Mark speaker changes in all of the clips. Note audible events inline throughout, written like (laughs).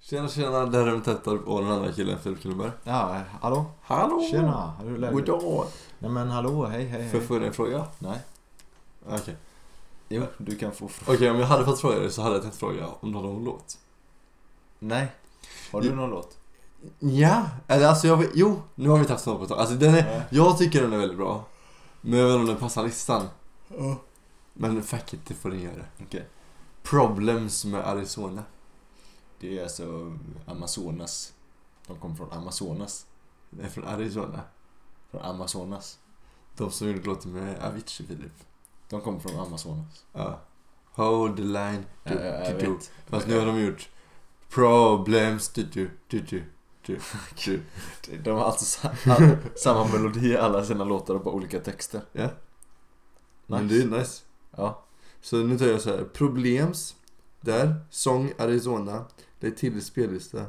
Speaker 1: Tjena, tjena. Det här är väl Tettar och den andra killen, Filip Kullenberg.
Speaker 2: Ja, hallå?
Speaker 1: Hallå!
Speaker 2: Tjena, hur är läget?
Speaker 1: Goddag!
Speaker 2: Nej men hallå, hej hej
Speaker 1: Får
Speaker 2: hej.
Speaker 1: jag fråga en fråga?
Speaker 2: Nej,
Speaker 1: Okej. Jo.
Speaker 2: du kan få fråga.
Speaker 1: Okej, om jag hade fått fråga dig så hade jag tänkt fråga om du hade någon låt.
Speaker 2: Nej. Har du någon låt?
Speaker 1: Ja, eller alltså jag vet- Jo, nu har vi inte haft någon på ett tag. Alltså den är...
Speaker 2: Nej.
Speaker 1: Jag tycker den är väldigt bra. Men jag vet inte om den passar listan. Men fuck it, det får den göra.
Speaker 2: Okej.
Speaker 1: Problems med Arizona.
Speaker 2: Det är alltså Amazonas. De kommer från Amazonas.
Speaker 1: Det är från Arizona.
Speaker 2: Från Amazonas.
Speaker 1: De som gjorde låten med Avicii, Filip.
Speaker 2: De kommer från Amazonas.
Speaker 1: Ja. Hold the line.
Speaker 2: Ja, ja, jag
Speaker 1: du, du.
Speaker 2: vet.
Speaker 1: Fast nu har de gjort Problems typ, du du du du du du
Speaker 2: De har alltså sa- samma melodi i alla sina låtar och bara olika texter.
Speaker 1: Ja Men det är nice
Speaker 2: Ja.
Speaker 1: Så nu tar jag så här Problems Där Sång Arizona Lägg till i spellista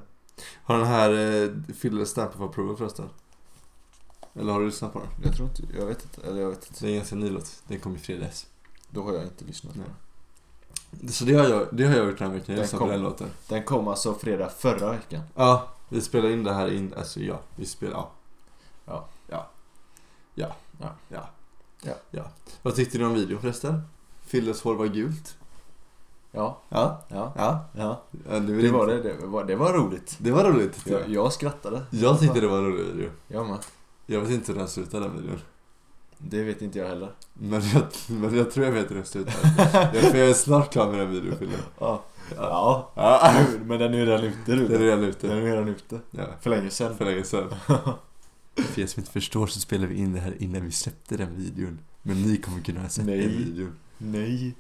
Speaker 1: Har den här eh, Fille snappat på proven förresten? Eller har du lyssnat på den?
Speaker 2: Jag tror inte, jag vet inte, eller jag vet inte.
Speaker 1: Det är en ganska ny låt Den kom i fredags
Speaker 2: Då har jag inte lyssnat på
Speaker 1: Nej.
Speaker 2: den.
Speaker 1: Så det har jag, det har jag gjort den här veckan Jag
Speaker 2: Den
Speaker 1: lyssnade på
Speaker 2: kom.
Speaker 1: den låten
Speaker 2: Den kom alltså fredag förra veckan.
Speaker 1: Ja, vi spelar in det här in, alltså ja, vi spelar, ja.
Speaker 2: Ja.
Speaker 1: Ja. Ja.
Speaker 2: Ja.
Speaker 1: Ja.
Speaker 2: Ja.
Speaker 1: Vad tyckte du om videon förresten? Filles hår var gult.
Speaker 2: Ja,
Speaker 1: Ja.
Speaker 2: ja,
Speaker 1: Ja.
Speaker 2: ja.
Speaker 1: ja nu är
Speaker 2: Det var det, det var, det var roligt.
Speaker 1: Det var roligt tyckte
Speaker 2: Jag,
Speaker 1: jag.
Speaker 2: jag skrattade.
Speaker 1: Jag tyckte det var en rolig video.
Speaker 2: Jag med.
Speaker 1: Jag vet inte hur den slutar den videon.
Speaker 2: Det vet inte
Speaker 1: (laughs)
Speaker 2: jag heller.
Speaker 1: Men jag, men jag tror jag vet hur den slutar. jag, för jag är snart klar med den videon Fille.
Speaker 2: Ja. Ja.
Speaker 1: Ja.
Speaker 2: Nu- Men den är ju redan ute
Speaker 1: Den är
Speaker 2: du.
Speaker 1: redan
Speaker 2: Den
Speaker 1: ute.
Speaker 2: är redan ute.
Speaker 1: Ja.
Speaker 2: För länge
Speaker 1: (laughs)
Speaker 2: sedan.
Speaker 1: För länge sedan. (laughs) För er som inte förstår så spelade vi in det här innan vi släppte den videon. Men ni kommer kunna ha sett
Speaker 2: Nej.
Speaker 1: den videon.
Speaker 2: Nej.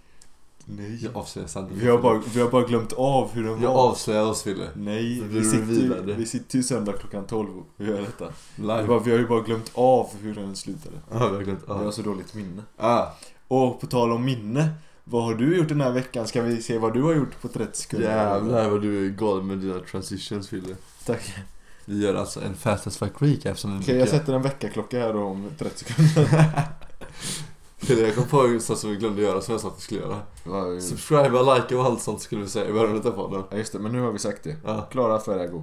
Speaker 2: Nej.
Speaker 1: Jag avslöjar sanningen.
Speaker 2: Vi har bara, vi har bara glömt av hur den
Speaker 1: Jag
Speaker 2: var.
Speaker 1: avslöjar oss Fille.
Speaker 2: Nej.
Speaker 1: Vi
Speaker 2: Vi sitter, ju,
Speaker 1: revealade.
Speaker 2: vi sitter ju söndag klockan 12 och gör detta. Vi,
Speaker 1: Live.
Speaker 2: bara, vi har ju bara glömt av hur den slutade.
Speaker 1: Ja, vi har glömt.
Speaker 2: Vi har
Speaker 1: Ja.
Speaker 2: så dåligt minne.
Speaker 1: Ah,
Speaker 2: Och på tal om minne. Vad har du gjort den här veckan? Ska vi se vad du har gjort på 30 sekunder?
Speaker 1: jävlar vad du är galen med dina transitions Fille.
Speaker 2: Tack.
Speaker 1: Vi gör alltså en fast as fuck recap som vi
Speaker 2: Okej, jag
Speaker 1: brukar.
Speaker 2: sätter en veckaklocka här då om 30 sekunder.
Speaker 1: Fille, jag kom på en sak som vi glömde göra som jag sa att vi skulle göra.
Speaker 2: Mm.
Speaker 1: Subscribe, like och allt sånt skulle vi säga i början av podden.
Speaker 2: Ja just det, men nu har vi sagt det.
Speaker 1: Ja.
Speaker 2: Klara affärer go.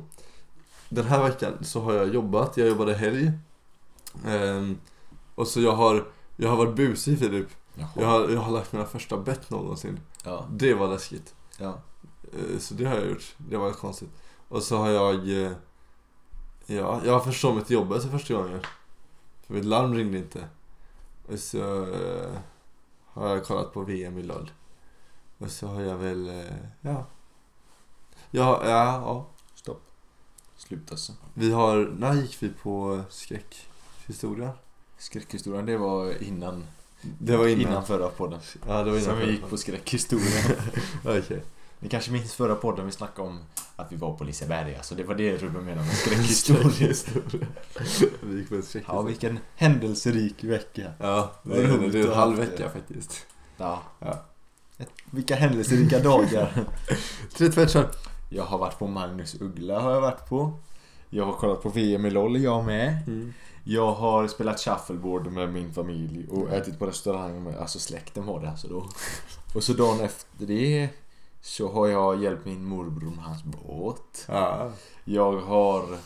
Speaker 1: Den här veckan så har jag jobbat, jag jobbade helg. Ehm, och så jag har, jag har varit busig Filip. Jag har, jag har lagt mina första bett någonsin.
Speaker 2: Ja.
Speaker 1: Det var läskigt.
Speaker 2: ja.
Speaker 1: Eh, Så det har jag gjort. Det var konstigt. Och så har jag... eh, Ja, jag har försommit jobbet för första gången. För mitt larm ringde inte. Och så eh, har jag kollat på VM i LOL. Och så har jag väl... eh, Ja. Ja, ja, ja.
Speaker 2: Stopp. Slut alltså.
Speaker 1: Vi har... När gick vi på skräckhistoria?
Speaker 2: Skräckhistorien, det var innan,
Speaker 1: Det var innan.
Speaker 2: förra podden.
Speaker 1: Ja, det var innan.
Speaker 2: Sen vi gick på (laughs) skräckhistorien.
Speaker 1: Okej.
Speaker 2: Ni kanske minns förra podden vi snackade om att vi var på Liseberg, alltså det var det Ruben menade med skräckhistoria.
Speaker 1: (laughs) vi gick på en
Speaker 2: ja,
Speaker 1: skräckhistoria.
Speaker 2: vilken händelserik vecka.
Speaker 1: Ja, det
Speaker 2: Vad
Speaker 1: är,
Speaker 2: roligt
Speaker 1: det är en
Speaker 2: att ha
Speaker 1: halv
Speaker 2: haft det.
Speaker 1: vecka faktiskt.
Speaker 2: Ja.
Speaker 1: Ja.
Speaker 2: Vilka händelserika dagar.
Speaker 1: Tre tvättar.
Speaker 2: Jag har varit på Magnus Uggla har jag varit på. Jag har kollat på VM i LOL jag med. Jag har spelat shuffleboard med min familj och ätit på restaurang med, alltså släkten var det alltså då. Och så dagen efter det så har jag hjälpt min morbror med hans båt.
Speaker 1: Ja.
Speaker 2: Jag har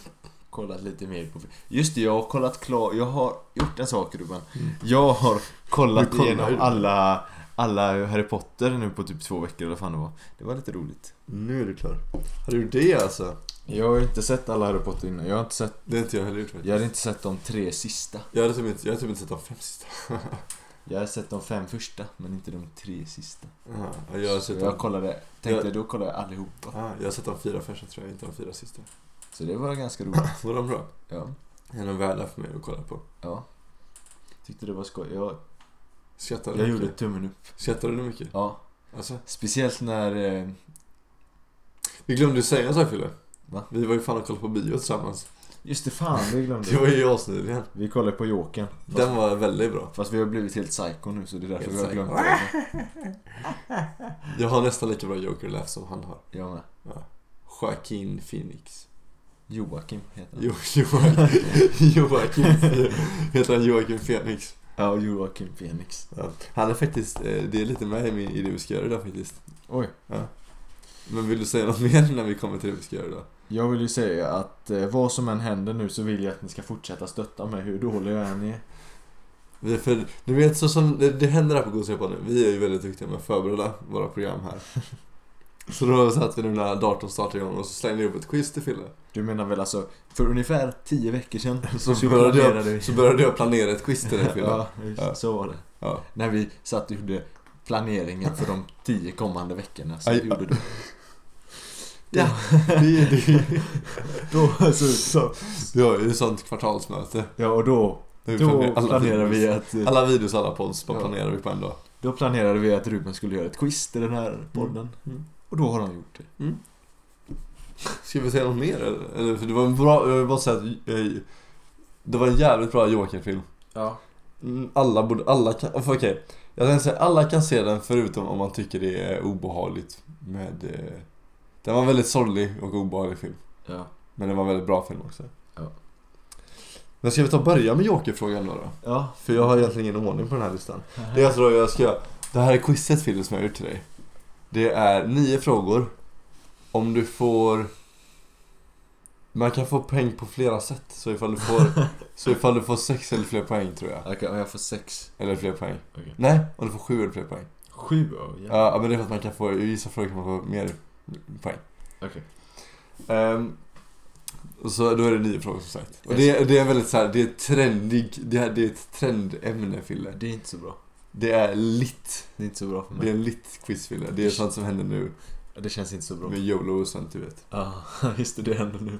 Speaker 2: kollat lite mer på... Just det, jag har kollat klart... Jag har gjort en sak Ruben. Jag har kollat
Speaker 1: Du kollar ju.
Speaker 2: igenom alla, alla Harry Potter nu på typ två veckor eller vad fan det var. Det var lite roligt.
Speaker 1: Nu är du klar. Har du gjort det alltså?
Speaker 2: Jag har inte sett alla Harry Potter innan. Jag har inte sett...
Speaker 1: Det har inte jag heller gjort faktiskt.
Speaker 2: Jag har inte sett de tre sista.
Speaker 1: Jag har typ inte, jag har typ inte sett de fem sista.
Speaker 2: Jag har sett de fem första, men inte de tre sista.
Speaker 1: Ja, jag har
Speaker 2: Så
Speaker 1: sett
Speaker 2: jag
Speaker 1: de,
Speaker 2: kollade, tänkte
Speaker 1: Jag-
Speaker 2: då kollar jag allihopa.
Speaker 1: ah, jag har sett de fyra första tror jag, inte de fyra sista.
Speaker 2: Så det var ganska roligt.
Speaker 1: Var de bra?
Speaker 2: Ja,
Speaker 1: Är de värda för mig att kolla på?
Speaker 2: ja. Tyckte det var skoj. Jag,
Speaker 1: Skrattar du
Speaker 2: jag gjorde
Speaker 1: mycket?
Speaker 2: tummen upp.
Speaker 1: Skrattar du mycket?
Speaker 2: Ja,
Speaker 1: Alltså,
Speaker 2: speciellt när... eh,
Speaker 1: vi glömde säga en sak Fille.
Speaker 2: Va?
Speaker 1: Vi var ju fan och kollade på bio tillsammans.
Speaker 2: Just det, fan vi (laughs) glömde.
Speaker 1: Det var ju asnyligen.
Speaker 2: Vi kollade på Jokern.
Speaker 1: Den var väldigt bra.
Speaker 2: Fast vi har blivit helt psycho nu så det är därför
Speaker 1: Helt
Speaker 2: vi
Speaker 1: psycho.
Speaker 2: har glömt det.
Speaker 1: Jag har nästan lika bra joker som han har. (laughs)
Speaker 2: Jag med.
Speaker 1: Joaquin Phoenix.
Speaker 2: Joakim heter han.
Speaker 1: Jo, Joaquin, (laughs) Joakim, heter han Joakim Phoenix?
Speaker 2: Ja, Joakim Phoenix.
Speaker 1: Han är faktiskt, eh, det är lite med i min- i det vi ska göra idag faktiskt.
Speaker 2: Oj.
Speaker 1: Ja. Men vill du säga något mer när vi kommer till det vi ska göra idag?
Speaker 2: Jag vill ju säga att eh, vad som än händer nu så vill jag att ni ska fortsätta stötta mig hur dålig jag än är.
Speaker 1: Vi- För ni vet så som det, det händer här på Gosepa nu. Vi är ju väldigt duktiga med att förbereda våra program här. Så då satt vi nu när datorn startade igång och så slängde jag upp ett quiz till Fille.
Speaker 2: Du menar väl alltså, för ungefär 10 veckor sedan
Speaker 1: (laughs) Så
Speaker 2: planerade
Speaker 1: började,
Speaker 2: vi-
Speaker 1: jag, så började jag planera ett quiz till dig Fille.
Speaker 2: (laughs) Ja,
Speaker 1: Ja.
Speaker 2: så var det.
Speaker 1: Ja.
Speaker 2: När vi satt och gjorde planeringen för de 10 kommande veckorna så
Speaker 1: Aj.
Speaker 2: gjorde du.
Speaker 1: Ja, det är det.
Speaker 2: (laughs) Då, så,
Speaker 1: Så, vi har ju ett sånt kvartalsmöte.
Speaker 2: ja, och då,
Speaker 1: Där vi
Speaker 2: då
Speaker 1: planerar alla
Speaker 2: planerade
Speaker 1: videos.
Speaker 2: vi att eh,
Speaker 1: Alla videos, alla pods, bara
Speaker 2: Ja.
Speaker 1: planerar vi på en dag.
Speaker 2: Då planerade vi att Ruben skulle göra ett quiz till den här podden.
Speaker 1: Mm.
Speaker 2: Och då har han gjort det.
Speaker 1: Ska vi säga något mer eller? eller? För det var en bra, jag vill bara säga att eh, Det var en jävligt bra Joakim-film.
Speaker 2: Ja.
Speaker 1: Mm, Alla borde, alla kan, för okej. Jag tänkte säga, alla kan se den förutom om man tycker det är obehagligt med... Eh, den var en väldigt sorglig och obehaglig film.
Speaker 2: Ja.
Speaker 1: Men den var en väldigt bra film också.
Speaker 2: Ja.
Speaker 1: Men ska vi ta och börja med Joker-frågan då, då?
Speaker 2: ja.
Speaker 1: För jag har egentligen ingen ordning på den här listan. Det är alltså då jag ska göra. Det här är quizet Fille som jag har gjort till dig. Det är nio frågor. Om du får... Man kan få poäng på flera sätt. Så ifall du (laughs) får, så ifall du får sex eller fler poäng tror jag.
Speaker 2: Okej, och jag får sex.
Speaker 1: Eller fler poäng.
Speaker 2: Okej.
Speaker 1: Nej, om du får sju eller fler poäng.
Speaker 2: Sju? Oh,
Speaker 1: Ja, men det är för att man kan få, i vissa frågor kan man få mer poäng.
Speaker 2: Okej.
Speaker 1: Ehm, och så då är det nio frågor som sagt. Och det, är- det är väldigt så här, det är trendig, det är, det är ett trendämne Fille.
Speaker 2: Det är inte så bra.
Speaker 1: Det är lit.
Speaker 2: Det är inte så bra för
Speaker 1: Det
Speaker 2: mig.
Speaker 1: är en lit quiz Fille. Det är sånt som händer nu
Speaker 2: Det, känns inte så bra.
Speaker 1: med YOLO och sånt du vet.
Speaker 2: Ja, (laughs) just det. Det händer nu.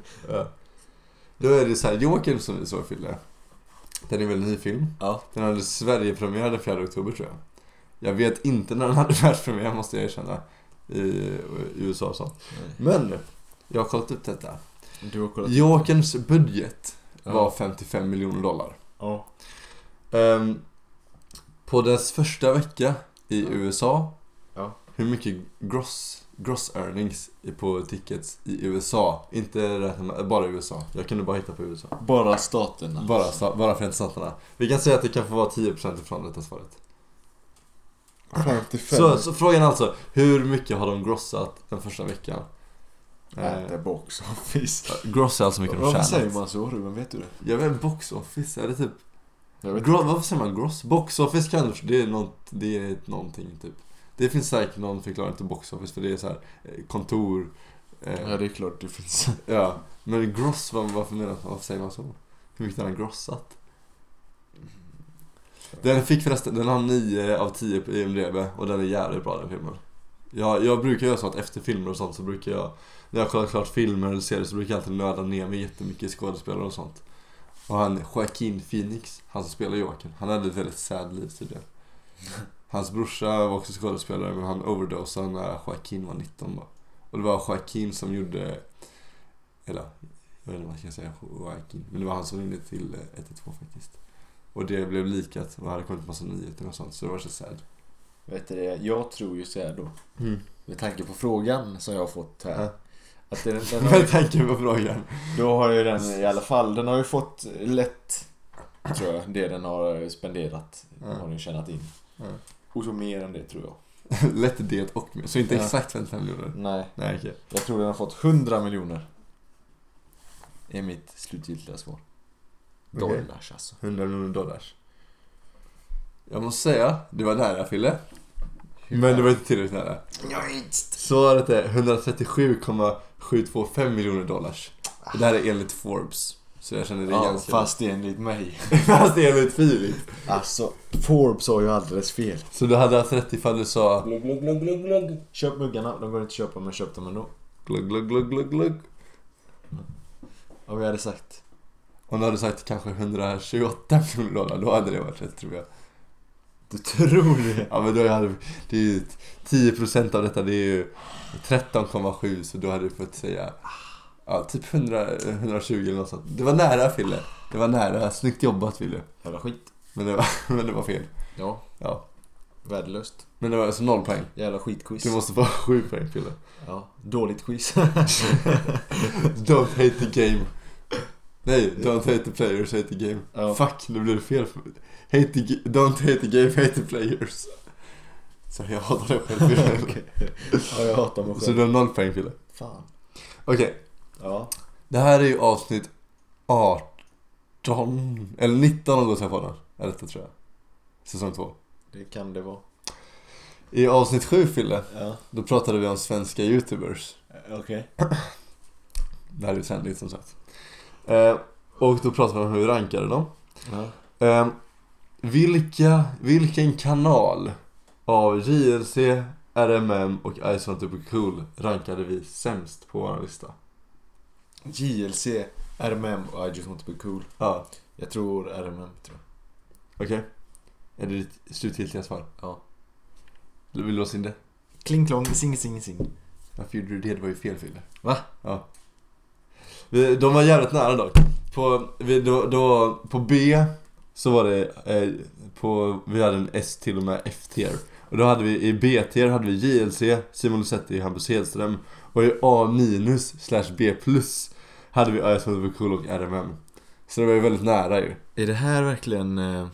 Speaker 1: Då är det så här, Joker som vi såg Fille. Den är väl en ny film.
Speaker 2: Ja.
Speaker 1: Den hade Sverigepremiär den 4 oktober tror jag. Jag vet inte när den hade (laughs) världspremiär måste jag erkänna. I, i USA och sånt. Men jag har kollat upp detta.
Speaker 2: Du har kollat.
Speaker 1: Jokerns budget
Speaker 2: Ja.
Speaker 1: var 55 miljoner dollar.
Speaker 2: Ja.
Speaker 1: Ehm, på dess första vecka i
Speaker 2: Ja.
Speaker 1: USA,
Speaker 2: Ja.
Speaker 1: hur mycket gross, gross earnings är på tickets i USA? Inte räkna med, bara USA. Jag kunde bara hitta på USA.
Speaker 2: Bara Alltså. staterna.
Speaker 1: Bara, sta- bara Förenta Staterna. Vi kan säga att det kan få vara 10% ifrån detta svaret.
Speaker 2: 55.
Speaker 1: Så, så frågan är alltså, hur mycket har de grossat den första veckan?
Speaker 2: At the
Speaker 1: Eh,
Speaker 2: box office.
Speaker 1: gross är alltså hur mycket de
Speaker 2: Varför säger
Speaker 1: tjänat.
Speaker 2: man så Ruben? Vet du det?
Speaker 1: Jag vet box office, är det typ
Speaker 2: Jag vet
Speaker 1: Gro- varför säger man gross? Box office kanske, det är, något, det är ett någonting typ. Det finns säkert någon förklaring till box office för det är så här eh, kontor. Eh,
Speaker 2: Ja, det är klart det finns.
Speaker 1: ja. Men gross, vad- varför menar man, varför säger man så? Hur mycket har den grossat? Den fick förresten, den har 9 av 10 på IMDB och den är jävligt bra den filmen. Jag, jag brukar göra så att efter filmer och sånt så brukar jag, när jag kollar klart filmer eller serier så brukar jag alltid nörda ner mig jättemycket i skådespelare och sånt. Och han, Joaquin Phoenix, han som spelar Joakim, han hade ett väldigt sad liv tydligen. Hans brorsa var också skådespelare men han overdosade när Joaquin var 19 bara. Och det var Joaquin som gjorde, eller jag vet inte vad man ska säga, Joaquin. Men det var han som ringde till eh, 112 faktiskt. Och det blev likat och det hade kommit massa nyheter och sånt så det var så sad.
Speaker 2: Vet du det? Jag tror ju så här då.
Speaker 1: Mm. (laughs)
Speaker 2: Med tanke på frågan som jag har fått här.
Speaker 1: Ja.
Speaker 2: Att den, (laughs) den har, ju-
Speaker 1: Med tanke på frågan. (laughs)
Speaker 2: då har ju den i alla fall, den har ju fått lätt, tror jag, det den har spenderat.
Speaker 1: Ja.
Speaker 2: Har den tjänat in.
Speaker 1: Ja.
Speaker 2: Och så mer än det tror jag.
Speaker 1: Lätt det och mer. Så inte
Speaker 2: Ja.
Speaker 1: exakt 55 miljoner.
Speaker 2: Nej,
Speaker 1: Nej okej.
Speaker 2: jag tror den har fått 100 miljoner. Är mitt slutgiltiga svar.
Speaker 1: Okej.
Speaker 2: Dollars alltså.
Speaker 1: 100 miljoner dollars. Jag måste säga, det var nära Fille. Men det var inte tillräckligt nära. Svaret är 137,725 miljoner dollars. Och det här är enligt Forbes. Så jag känner det
Speaker 2: Ja,
Speaker 1: ganska...
Speaker 2: fast enligt mig.
Speaker 1: (laughs) fast enligt Filip.
Speaker 2: Alltså, Forbes har ju alldeles fel.
Speaker 1: Så du hade haft rätt ifall du sa
Speaker 2: Glugg, glugg, glugg, glugg, glugg. Köp muggarna, de går inte att köpa men köp dem ändå.
Speaker 1: glugg, glugg, glugg, glugg, glugg.
Speaker 2: Om jag hade sagt.
Speaker 1: Om du hade sagt kanske 128 miljoner dollar, då hade det varit rätt tror jag.
Speaker 2: Du tror det?
Speaker 1: Ja men då hade det är ju 10% av detta, det är ju 13,7 så då hade du fått säga ja, typ 100, 120 eller något sånt. Det var nära Fille. Det var nära. Snyggt jobbat Fille.
Speaker 2: Jävla skit.
Speaker 1: Men det var, (laughs) men det var fel.
Speaker 2: Ja,
Speaker 1: Ja.
Speaker 2: värdelöst.
Speaker 1: Men det var alltså noll poäng.
Speaker 2: Jävla skitquiz.
Speaker 1: Du måste få 7 poäng Fille.
Speaker 2: Ja, dåligt (laughs) quiz.
Speaker 1: Don't hate the game. Nej, don't hate the players, hate the game.
Speaker 2: Ja.
Speaker 1: Fuck, nu blev det fel. Hate the, ga- don't hate the game, hate the players. Så jag hatar det själv.
Speaker 2: (laughs) Okej. Ja, jag hatar mig
Speaker 1: Så
Speaker 2: själv.
Speaker 1: du har noll poäng kille.
Speaker 2: Fan.
Speaker 1: Okej,
Speaker 2: Ja.
Speaker 1: det här är ju avsnitt 18. Eller 19 om Gåsjapodden. Eller detta tror jag. Säsong 2.
Speaker 2: Det kan det vara.
Speaker 1: I avsnitt 7 Fille,
Speaker 2: Ja.
Speaker 1: då pratade vi om svenska youtubers.
Speaker 2: Eh, Okej.
Speaker 1: Det här är ju sändligt som sagt. Eh, och då pratade vi om hur vi rankade dem.
Speaker 2: Ja.
Speaker 1: Ehm, vilka, vilken kanal av JLC, RMM och Ice Want To Be Cool rankade vi sämst på vår lista?
Speaker 2: JLC, RMM och I just want to be cool.
Speaker 1: Ja,
Speaker 2: Jag tror RMM tror jag.
Speaker 1: okej. Är det ditt slutgiltiga svar?
Speaker 2: Ja.
Speaker 1: Vill du låsa in det?
Speaker 2: Kling klong, sing sing sing.
Speaker 1: Varför gjorde du det? Det var ju fel Fille.
Speaker 2: Va?
Speaker 1: Ja. Vi, de var jävligt nära dock. På, vi, då, då, på B så var det, eh, på, vi hade en S till och med F-tier. Och då hade vi i B-tier hade vi JLC, Simon Lusetti, Hampus Hedström. Och i A minus slash B plus hade vi IS Cool och RMM. Så det var ju väldigt nära ju.
Speaker 2: Är det här verkligen... eh,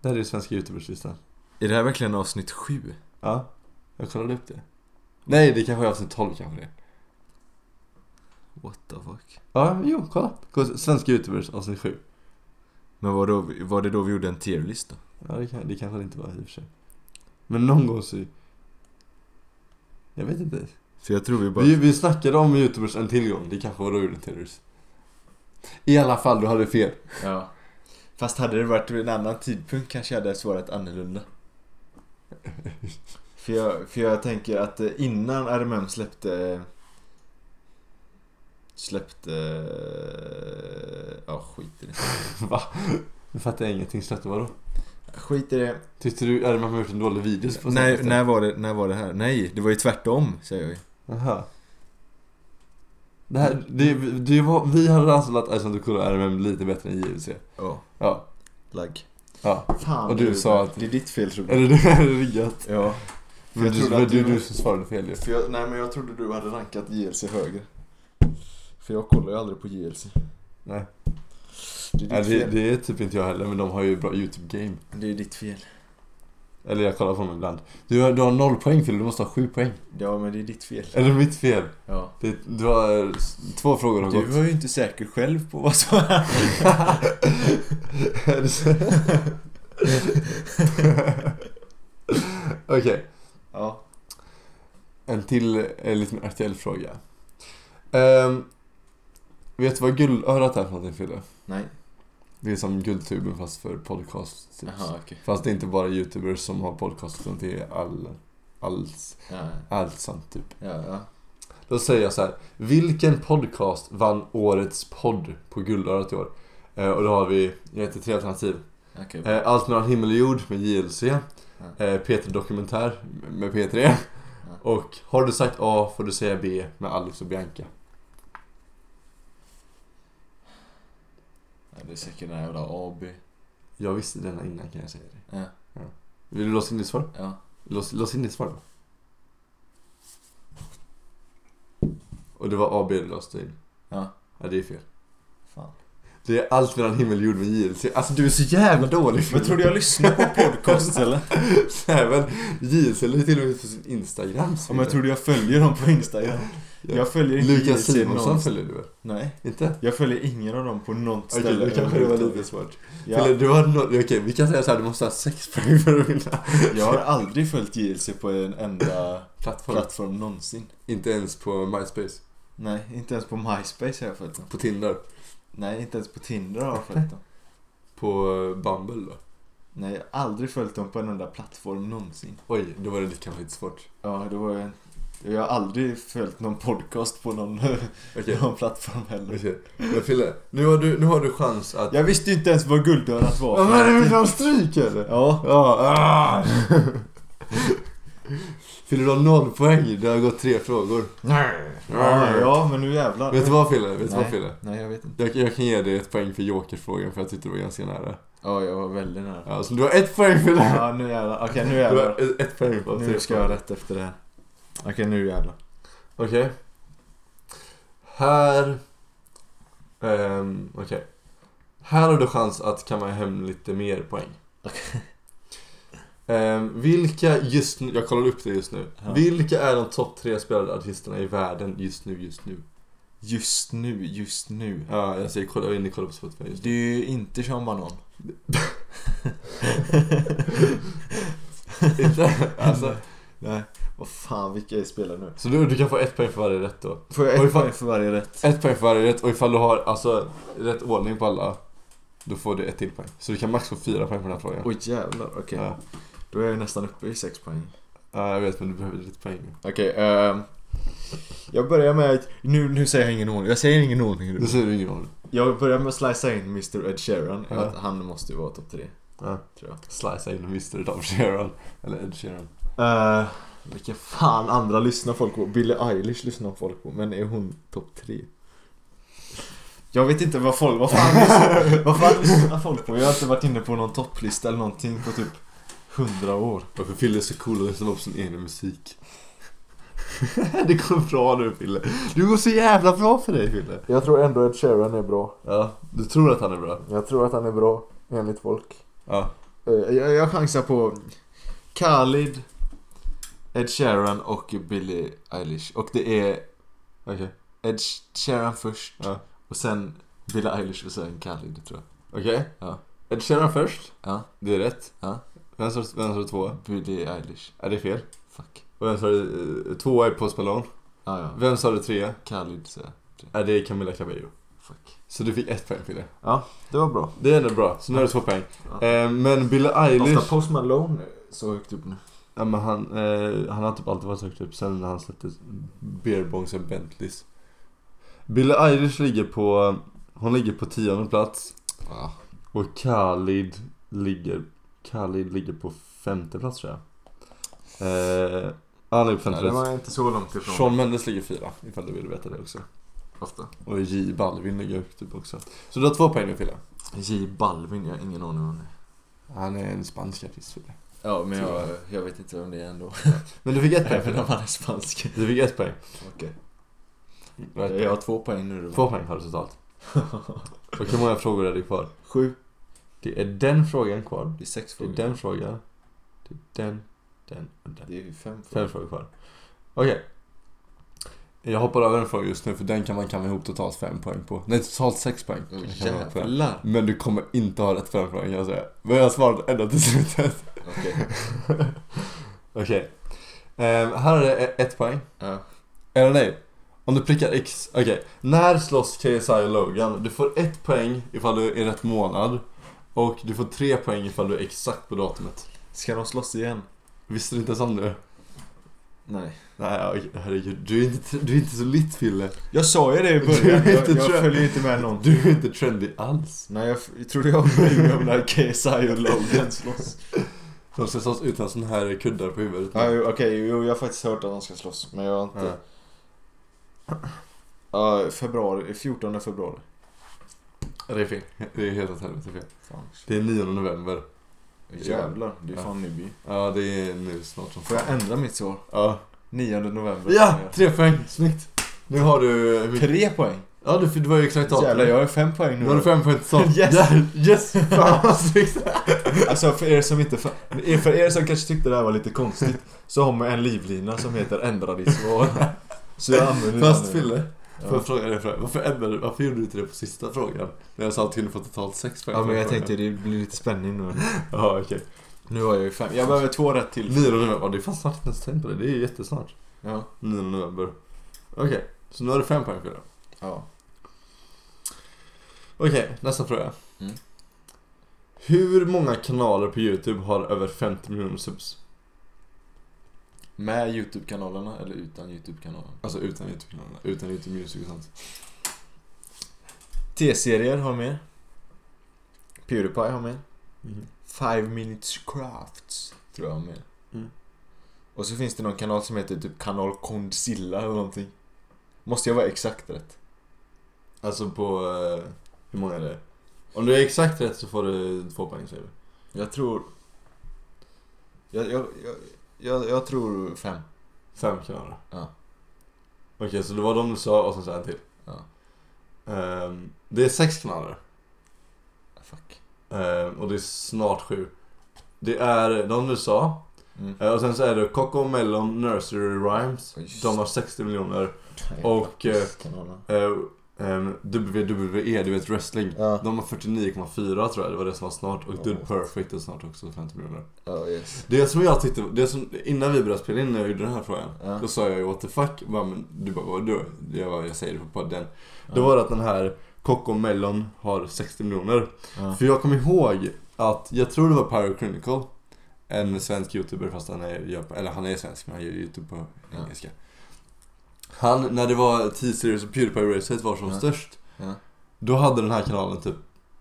Speaker 1: Det här är ju svenska youtuberslistan.
Speaker 2: Är det här verkligen avsnitt sju?
Speaker 1: Ja, jag kollade upp det. Nej, det kanske är avsnitt 12 kanske det. är.
Speaker 2: What the fuck?
Speaker 1: Ja, jo, kolla. Kolla, Svenska youtubers avsnitt 7.
Speaker 2: Men var, då, vi- var det då vi gjorde en tierlista?
Speaker 1: Ja, det, kan, det kanske det inte var i och för sig. Men någon gång så... Jag vet inte.
Speaker 2: För jag tror vi bara...
Speaker 1: Vi, vi snackade om youtubers en tillgång. Det kanske var då vi gjorde en tillgångs. I alla fall, du hade fel. (laughs)
Speaker 2: Ja. Fast hade det varit vid en annan tidpunkt kanske jag hade
Speaker 1: (laughs)
Speaker 2: svarat annorlunda. för, jag, för jag tänker att eh, innan RMM släppte... Släppte... eh, Ja, skit i det.
Speaker 1: Va? Nu fattar jag ingenting. Släppte vadå?
Speaker 2: Skit i det.
Speaker 1: Tyckte du att man har gjort en dålig video på
Speaker 2: När,
Speaker 1: senaste?
Speaker 2: när, var det, när var det här? Nej, det var ju tvärtom säger jag ju.
Speaker 1: Aha. Det här, det, det var, vi hade ransolat Ice and Cool RMM lite bättre än JVC.
Speaker 2: Ja,
Speaker 1: Ja.
Speaker 2: lagg.
Speaker 1: Ja.
Speaker 2: Fan,
Speaker 1: Och du
Speaker 2: det är-
Speaker 1: sa att-
Speaker 2: Det är ditt fel tror jag.
Speaker 1: Eller det är riggat.
Speaker 2: Ja. För
Speaker 1: Men
Speaker 2: jag
Speaker 1: du,
Speaker 2: trodde
Speaker 1: men
Speaker 2: att
Speaker 1: du,
Speaker 2: du...
Speaker 1: du som svarade fel ju.
Speaker 2: För jag, nej men jag trodde du hade rankat JLC högre. För jag kollar ju aldrig på JLC.
Speaker 1: Nej.
Speaker 2: Det är ditt
Speaker 1: Ja, det,
Speaker 2: fel.
Speaker 1: det är typ inte jag heller, men de har ju bra YouTube-game.
Speaker 2: Det är ditt fel.
Speaker 1: Eller jag kollar på dem ibland. Du har, du har noll poäng Fille, du måste ha sju poäng.
Speaker 2: Ja men det är ditt fel.
Speaker 1: Eller mitt fel.
Speaker 2: Ja.
Speaker 1: Det, du har eh, s- två frågor har
Speaker 2: Du
Speaker 1: gått. (laughs)
Speaker 2: var ju inte säker själv på vad som hände.
Speaker 1: Är det så? Okej,
Speaker 2: Ja.
Speaker 1: en till eh, lite mer aktuell fråga. Ehm, vet du vad guldörat är för någonting Fille?
Speaker 2: Nej.
Speaker 1: Det är som guldtuben fast för podcast. Typ.
Speaker 2: Jaha okej.
Speaker 1: Fast det är inte bara youtubers som har podcast utan det är all, alls,
Speaker 2: Ja,
Speaker 1: allt sånt typ.
Speaker 2: ja, ja.
Speaker 1: Då säger jag så här. Vilken podcast vann årets podd på Guldörat i år? Eh, och då har vi, jag heter tre alternativ.
Speaker 2: Okej.
Speaker 1: Eh, Allt mellan himmel och jord med JLC. Eh, Peter Dokumentär med P3. Och Har du sagt A får du säga B med Alex och Bianca.
Speaker 2: Ja, det är säkert den här jävla AB.
Speaker 1: Jag visste denna innan kan jag säga det.
Speaker 2: Ja.
Speaker 1: Vill du låsa in ditt svar?
Speaker 2: Ja.
Speaker 1: Lås, lås in ditt svar då. Och det var A, B du låste in.
Speaker 2: Ja.
Speaker 1: Ja, det är fel.
Speaker 2: Fan.
Speaker 1: Det är allt mellan himmel och jord med JLC. Alltså du är så jävla dålig.
Speaker 2: Men tror du jag lyssnar på podcasts eller?
Speaker 1: Nej men JLC la ju till och med på sin Instagram
Speaker 2: Om jag tror du jag följer dem på Instagram? Jag följer inte
Speaker 1: Lukas
Speaker 2: JLC
Speaker 1: Simonsson
Speaker 2: någonstans.
Speaker 1: följer du väl?
Speaker 2: Nej.
Speaker 1: Inte?
Speaker 2: Jag följer ingen av dem på något
Speaker 1: Okej,
Speaker 2: ställe.
Speaker 1: det kanske det var lite smart. Eller
Speaker 2: Jag,
Speaker 1: du har noll... Okej, vi kan säga så här, du måste ha sex (laughs) poäng för att vinna.
Speaker 2: jag har aldrig följt JLC på en enda
Speaker 1: Plattform.
Speaker 2: plattform någonsin.
Speaker 1: Inte ens på MySpace.
Speaker 2: Nej, inte ens på MySpace har jag följt dem.
Speaker 1: På Tinder.
Speaker 2: Nej, inte ens på Tinder har jag följt dem.
Speaker 1: På eh, Bumble då.
Speaker 2: Nej, jag har aldrig följt dem på en enda plattform någonsin.
Speaker 1: Oj, då var det lite, kanske lite svårt.
Speaker 2: Ja, det var jag... Jag har aldrig följt någon podcast på någon,
Speaker 1: Okej.
Speaker 2: (laughs) någon plattform heller.
Speaker 1: Okej. Men Fille, nu har, du, nu har du chans att...
Speaker 2: Jag visste ju inte ens vad guldörat var.
Speaker 1: Ja, men vill du ha stryk eller?
Speaker 2: Ja.
Speaker 1: Ja. Ah. Fille, du har noll poäng. Det har gått tre frågor.
Speaker 2: Ja, ja, men nu jävlar.
Speaker 1: Vet du vad Fille? Vet du vad
Speaker 2: Nej.
Speaker 1: Fille?
Speaker 2: Nej, jag vet inte.
Speaker 1: Jag, jag kan ge dig ett poäng för jokerfrågan för jag tyckte det var ganska nära.
Speaker 2: Ja, jag var väldigt nära.
Speaker 1: Ja, så du har ett poäng för det.
Speaker 2: Ja, nu jävlar. Okej, nu
Speaker 1: Du
Speaker 2: jävlar.
Speaker 1: har ett, ett poäng typ på
Speaker 2: Nu
Speaker 1: tre
Speaker 2: ska jag ha
Speaker 1: frågor.
Speaker 2: rätt efter det här. Okej, nu jävlar.
Speaker 1: Okej. Här... ehm, Okej. Här har du chans att kamma hem lite mer poäng. Ehm, vilka just nu, jag kollar upp det just nu.
Speaker 2: Ja.
Speaker 1: Vilka är de topp tre spelade artisterna i världen just nu, just nu?
Speaker 2: Just nu, just nu.
Speaker 1: Ja, jag säger kolla, jag är inne och kollar på Spotify just nu.
Speaker 2: Det är ju inte Sean Banan.
Speaker 1: Inte? alltså,
Speaker 2: (laughs) Nej. Vad fan, vilka är spelare nu?
Speaker 1: så du, du kan få ett poäng för varje rätt då.
Speaker 2: Får jag
Speaker 1: Oj,
Speaker 2: ett
Speaker 1: fan.
Speaker 2: poäng för varje rätt?
Speaker 1: Ett poäng för varje rätt och ifall du har alltså rätt ordning på alla, då får du ett till poäng. Så du kan max få fyra poäng på den här frågan.
Speaker 2: Oj jävlar, okej.
Speaker 1: Ja.
Speaker 2: Då är jag nästan uppe i sex poäng.
Speaker 1: Ja, jag vet men du behöver lite poäng.
Speaker 2: Okej, ehm, jag börjar med att- nu, nu säger jag ingen ordning, jag säger ingen ordning
Speaker 1: Nu
Speaker 2: nu.
Speaker 1: säger du ingen roll.
Speaker 2: Jag börjar med att slicea in Mr Ed Sheeran,
Speaker 1: Ja.
Speaker 2: att han måste ju vara topp tre.
Speaker 1: Ja.
Speaker 2: Tror jag.
Speaker 1: Slicea in Mr. Dom Sheeran. Eller Ed Sheeran.
Speaker 2: Uh, vilka fan andra lyssnar folk på? Billie Eilish lyssnar folk på, men är hon topp tre? Jag vet inte vad folk, vad fan, (laughs) lyssnar- vad fan lyssnar folk på? Jag har inte varit inne på någon topplista eller någonting på typ hundra år.
Speaker 1: Varför Fille är så cool och lyssnar på sin egen musik? (laughs) det går bra nu Fille. Du går så jävla bra för dig Fille.
Speaker 2: Jag tror ändå Ed Sheeran är bra.
Speaker 1: Ja, du tror att han är bra?
Speaker 2: Jag tror att han är bra, enligt folk.
Speaker 1: Ja.
Speaker 2: Eh, Jag, jag chansar på Khalid, Ed Sheeran och Billie Eilish. Och det är
Speaker 1: Okej.
Speaker 2: Ed Sheeran först
Speaker 1: Ja.
Speaker 2: och sen Billie Eilish och sen Khalid tror jag.
Speaker 1: Okej.
Speaker 2: Ja.
Speaker 1: Ed Sheeran först.
Speaker 2: Ja.
Speaker 1: Det är rätt.
Speaker 2: Ja.
Speaker 1: Vem sa vem sa du tvåa?
Speaker 2: Billie Eilish.
Speaker 1: Är det är fel?
Speaker 2: Fuck.
Speaker 1: Och vem sa du eh, tvåa är Post Malone.
Speaker 2: Ah, ja.
Speaker 1: Vem sa du trea?
Speaker 2: Khalid säger jag.
Speaker 1: Är det Camilla Cabello.
Speaker 2: Fuck.
Speaker 1: Så du fick ett poäng Fille.
Speaker 2: Det var bra.
Speaker 1: Det är ändå bra. Så nu har du två poäng.
Speaker 2: Ja.
Speaker 1: Eh, men Billie
Speaker 2: Ofta
Speaker 1: Eilish.
Speaker 2: Post Malone så högt upp nu.
Speaker 1: Ja, men han, eh, han har typ alltid varit så högt upp sen när han släppte Beerbongs och Bentleys. Billie Eilish ligger på, hon ligger på tionde plats.
Speaker 2: Ah.
Speaker 1: Och Khalid ligger, Khalid ligger på femte plats tror jag. Eh, han ligger på femte
Speaker 2: Nej, det
Speaker 1: plats.
Speaker 2: var inte så långt ifrån.
Speaker 1: Shawn Mendes ligger fyra, ifall du vill veta det också.
Speaker 2: Ofta.
Speaker 1: Och J Balvin ligger högt upp typ också. Så du har två poäng nu Fille.
Speaker 2: J Balvin, jag har ingen aning om det.
Speaker 1: Han är en spansk artist Fille.
Speaker 2: Ja, men
Speaker 1: jag-
Speaker 2: jag vet inte vem det är ändå.
Speaker 1: Men du fick ett
Speaker 2: (laughs)
Speaker 1: poäng
Speaker 2: Även om
Speaker 1: Fille.
Speaker 2: han är spansk.
Speaker 1: Du fick ett
Speaker 2: (laughs)
Speaker 1: poäng.
Speaker 2: Okej.
Speaker 1: Du har ett
Speaker 2: Jag
Speaker 1: poäng.
Speaker 2: har två poäng nu. då.
Speaker 1: Två poäng har du totalt. Och hur många frågor är det kvar?
Speaker 2: Sju.
Speaker 1: Det är den frågan kvar.
Speaker 2: Det är sex
Speaker 1: Det är
Speaker 2: frågor.
Speaker 1: den frågan. Det är den, den och den.
Speaker 2: Det är ju fem frågor.
Speaker 1: Fem frågor kvar. Okej. Jag hoppar över en fråga just nu för den kan man kamma ihop totalt fem poäng på. Nej, totalt sex poäng.
Speaker 2: Åh,
Speaker 1: kan man kamma ihop på den.
Speaker 2: Mm, jävlar.
Speaker 1: Men du kommer inte ha rätt för den frågan kan jag säga. Men jag har svarat ända till slutet.
Speaker 2: Okej.
Speaker 1: (laughs) Okej. Ehm, här är det e- ett poäng.
Speaker 2: Ja.
Speaker 1: Eller nej. Om du prickar X. Okej. När slåss KSI och Logan? Du får ett poäng ifall du är rätt månad. Och du får tre poäng ifall du är exakt på datumet.
Speaker 2: Ska de slåss igen?
Speaker 1: Visste du inte ens om det?
Speaker 2: Nej.
Speaker 1: Nej, okej, herregud. Du är inte, du är inte så litt Fille.
Speaker 2: Jag sa ju det i
Speaker 1: Du är
Speaker 2: början.
Speaker 1: inte
Speaker 2: Jag, jag
Speaker 1: trött.
Speaker 2: följer inte med någon.
Speaker 1: Du är inte trendy alls.
Speaker 2: Nej, jag, f- jag trodde jag var med om (laughs) när KSI och Logan slåss.
Speaker 1: De ska slåss utan sån här kuddar på huvudet.
Speaker 2: Ja, jo, Okej, jo, jag har faktiskt hört att de ska slåss. Men jag har inte... Ja, februari. 14 februari.
Speaker 1: Ja, Det är fel. Det är helt åt helvete fel.
Speaker 2: Fan.
Speaker 1: Det är 9 november.
Speaker 2: Jävlar, det är
Speaker 1: Ja.
Speaker 2: fan nu.
Speaker 1: Ja, det är nu snart som
Speaker 2: Får jag ändra mitt svar?
Speaker 1: Ja.
Speaker 2: 9 november.
Speaker 1: ja, tre poäng. Snyggt. Nu har du... hur mycket-
Speaker 2: Tre poäng?
Speaker 1: Ja, du, du var ju exakt datum.
Speaker 2: Jävlar, jag har fem poäng nu.
Speaker 1: Nu har du fem poäng totalt.
Speaker 2: (laughs) Yes.
Speaker 1: Ja, yes! Fan vad snyggt!
Speaker 2: Alltså för er som inte fa- för er som kanske tyckte det här var
Speaker 1: (laughs)
Speaker 2: lite konstigt så har man en livlina som heter ändra ditt svar. Så jag använder den
Speaker 1: Fast
Speaker 2: nu.
Speaker 1: Fille, får
Speaker 2: Ja.
Speaker 1: jag fråga dig en fråga? Varför ändrade du? Varför gjorde du inte det på sista frågan? När jag sa att du kunde få totalt sex poäng.
Speaker 2: ja,
Speaker 1: på
Speaker 2: men jag
Speaker 1: frågan.
Speaker 2: tänkte det blir lite spänning nu.
Speaker 1: Ja, okej.
Speaker 2: Nu har jag ju fem. Jag behöver två rätt till.
Speaker 1: 9 november. Ja, det är fan snart inte ens tänkt på det. Det är ju jättesnart.
Speaker 2: Ja.
Speaker 1: 9 november. Okej, så nu har du fem poäng Fille.
Speaker 2: ja.
Speaker 1: Okej, nästa fråga.
Speaker 2: Mm.
Speaker 1: Hur många kanaler på YouTube har över 50 miljoner subs?
Speaker 2: Med YouTube-kanalerna eller utan YouTube-kanalerna?
Speaker 1: Alltså utan YouTube-kanalerna, utan YouTube Music och sånt.
Speaker 2: T-serier har mer. Pewdiepie har mer.
Speaker 1: Mhm.
Speaker 2: Five Minutes Crafts tror jag har mer.
Speaker 1: Mm.
Speaker 2: Och så finns det någon kanal som heter typ kanal Condzilla eller någonting. Måste jag vara exakt rätt?
Speaker 1: Alltså på... Eh, hur många är det? Om du är exakt rätt så får du två poäng säger vi.
Speaker 2: Jag tror... Jag, jag, jag, jag, jag tror fem.
Speaker 1: Fem kanaler.
Speaker 2: Ja.
Speaker 1: Okej, så det var de du sa och sen så en till.
Speaker 2: Ja.
Speaker 1: Ehm, det är sex kanaler.
Speaker 2: Fuck.
Speaker 1: Ehm, och det är snart sju. Det är någon USA.
Speaker 2: Mm.
Speaker 1: Eh, Och sen så är det Coco Melon Nursery Rhymes.
Speaker 2: Ja, just
Speaker 1: De har 60 miljoner.
Speaker 2: det.
Speaker 1: och, eh,
Speaker 2: Kanalerna.
Speaker 1: Eh, ehm, WWE, du vet wrestling.
Speaker 2: Ja.
Speaker 1: De har 49,4 tror jag, det var det som var snart. Och
Speaker 2: Ja.
Speaker 1: Dude Perfect är snart också 50 miljoner.
Speaker 2: Ja, yes.
Speaker 1: Det som jag tyckte, det som, innan vi började spela in när jag gjorde den här frågan.
Speaker 2: Ja.
Speaker 1: Då sa jag ju what the fuck. Bara, men, du bara vadå? Jag, bara, jag säger det på podden. Då
Speaker 2: Ja.
Speaker 1: var det att den här Coco Melon har 60 miljoner.
Speaker 2: Ja.
Speaker 1: För jag kommer ihåg att, jag tror det var Pyro Chronicle En svensk youtuber fast han är, gör på- eller han är svensk men han gör youtube på
Speaker 2: Ja.
Speaker 1: engelska Han, när det var T-series och Pewdiepie racet var som
Speaker 2: Ja.
Speaker 1: störst
Speaker 2: Ja.
Speaker 1: Då hade den här kanalen typ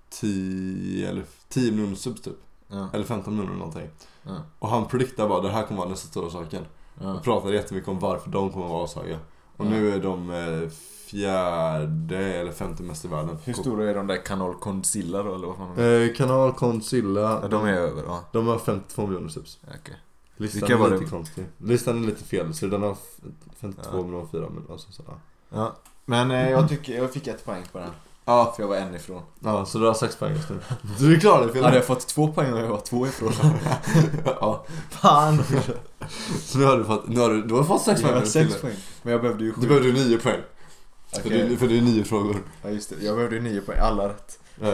Speaker 1: 10 eller 10 miljoner subs typ
Speaker 2: Ja.
Speaker 1: Eller 15 miljoner eller någonting
Speaker 2: Ja.
Speaker 1: Och han prediktade bara det här kommer vara nästa stora saken
Speaker 2: Ja.
Speaker 1: Och pratade jättemycket om varför de kommer vara ashaga Och
Speaker 2: Ja.
Speaker 1: nu är de eh, fjärde eller femte mest i världen
Speaker 2: Hur stora är de där kanal Condzilla då eller vad fan de är?
Speaker 1: Eh, kanal Condzilla
Speaker 2: Ja, de är över va?
Speaker 1: De har 52 miljoner subs.
Speaker 2: Ja, Okej.
Speaker 1: Listan
Speaker 2: Vilka
Speaker 1: är
Speaker 2: var
Speaker 1: lite
Speaker 2: det?
Speaker 1: konstig. Listan är lite fel, så den har f- 52
Speaker 2: Ja.
Speaker 1: miljoner och 4 miljoner. Alltså, så, ja.
Speaker 2: Ja. Men eh, jag, tycker, jag fick ett poäng på den.
Speaker 1: Ja.
Speaker 2: För jag var en ifrån.
Speaker 1: ja, så du har 6 poäng just nu. (laughs) Du är klar det, (laughs)
Speaker 2: Hade
Speaker 1: Fille?
Speaker 2: jag fått två poäng och jag var två ifrån?
Speaker 1: ja.
Speaker 2: (laughs) Fan!
Speaker 1: Så nu har du fått, nu har du, du har fått 6
Speaker 2: Jag
Speaker 1: poäng.
Speaker 2: har
Speaker 1: nu,
Speaker 2: sex
Speaker 1: Fille.
Speaker 2: poäng. Men jag behövde ju sju.
Speaker 1: Du behövde 9 poäng. För,
Speaker 2: Okej.
Speaker 1: det, för det är 9 frågor.
Speaker 2: Ja just det, jag behövde ju nio poäng. Alla rätt.
Speaker 1: Ja.
Speaker 2: (laughs)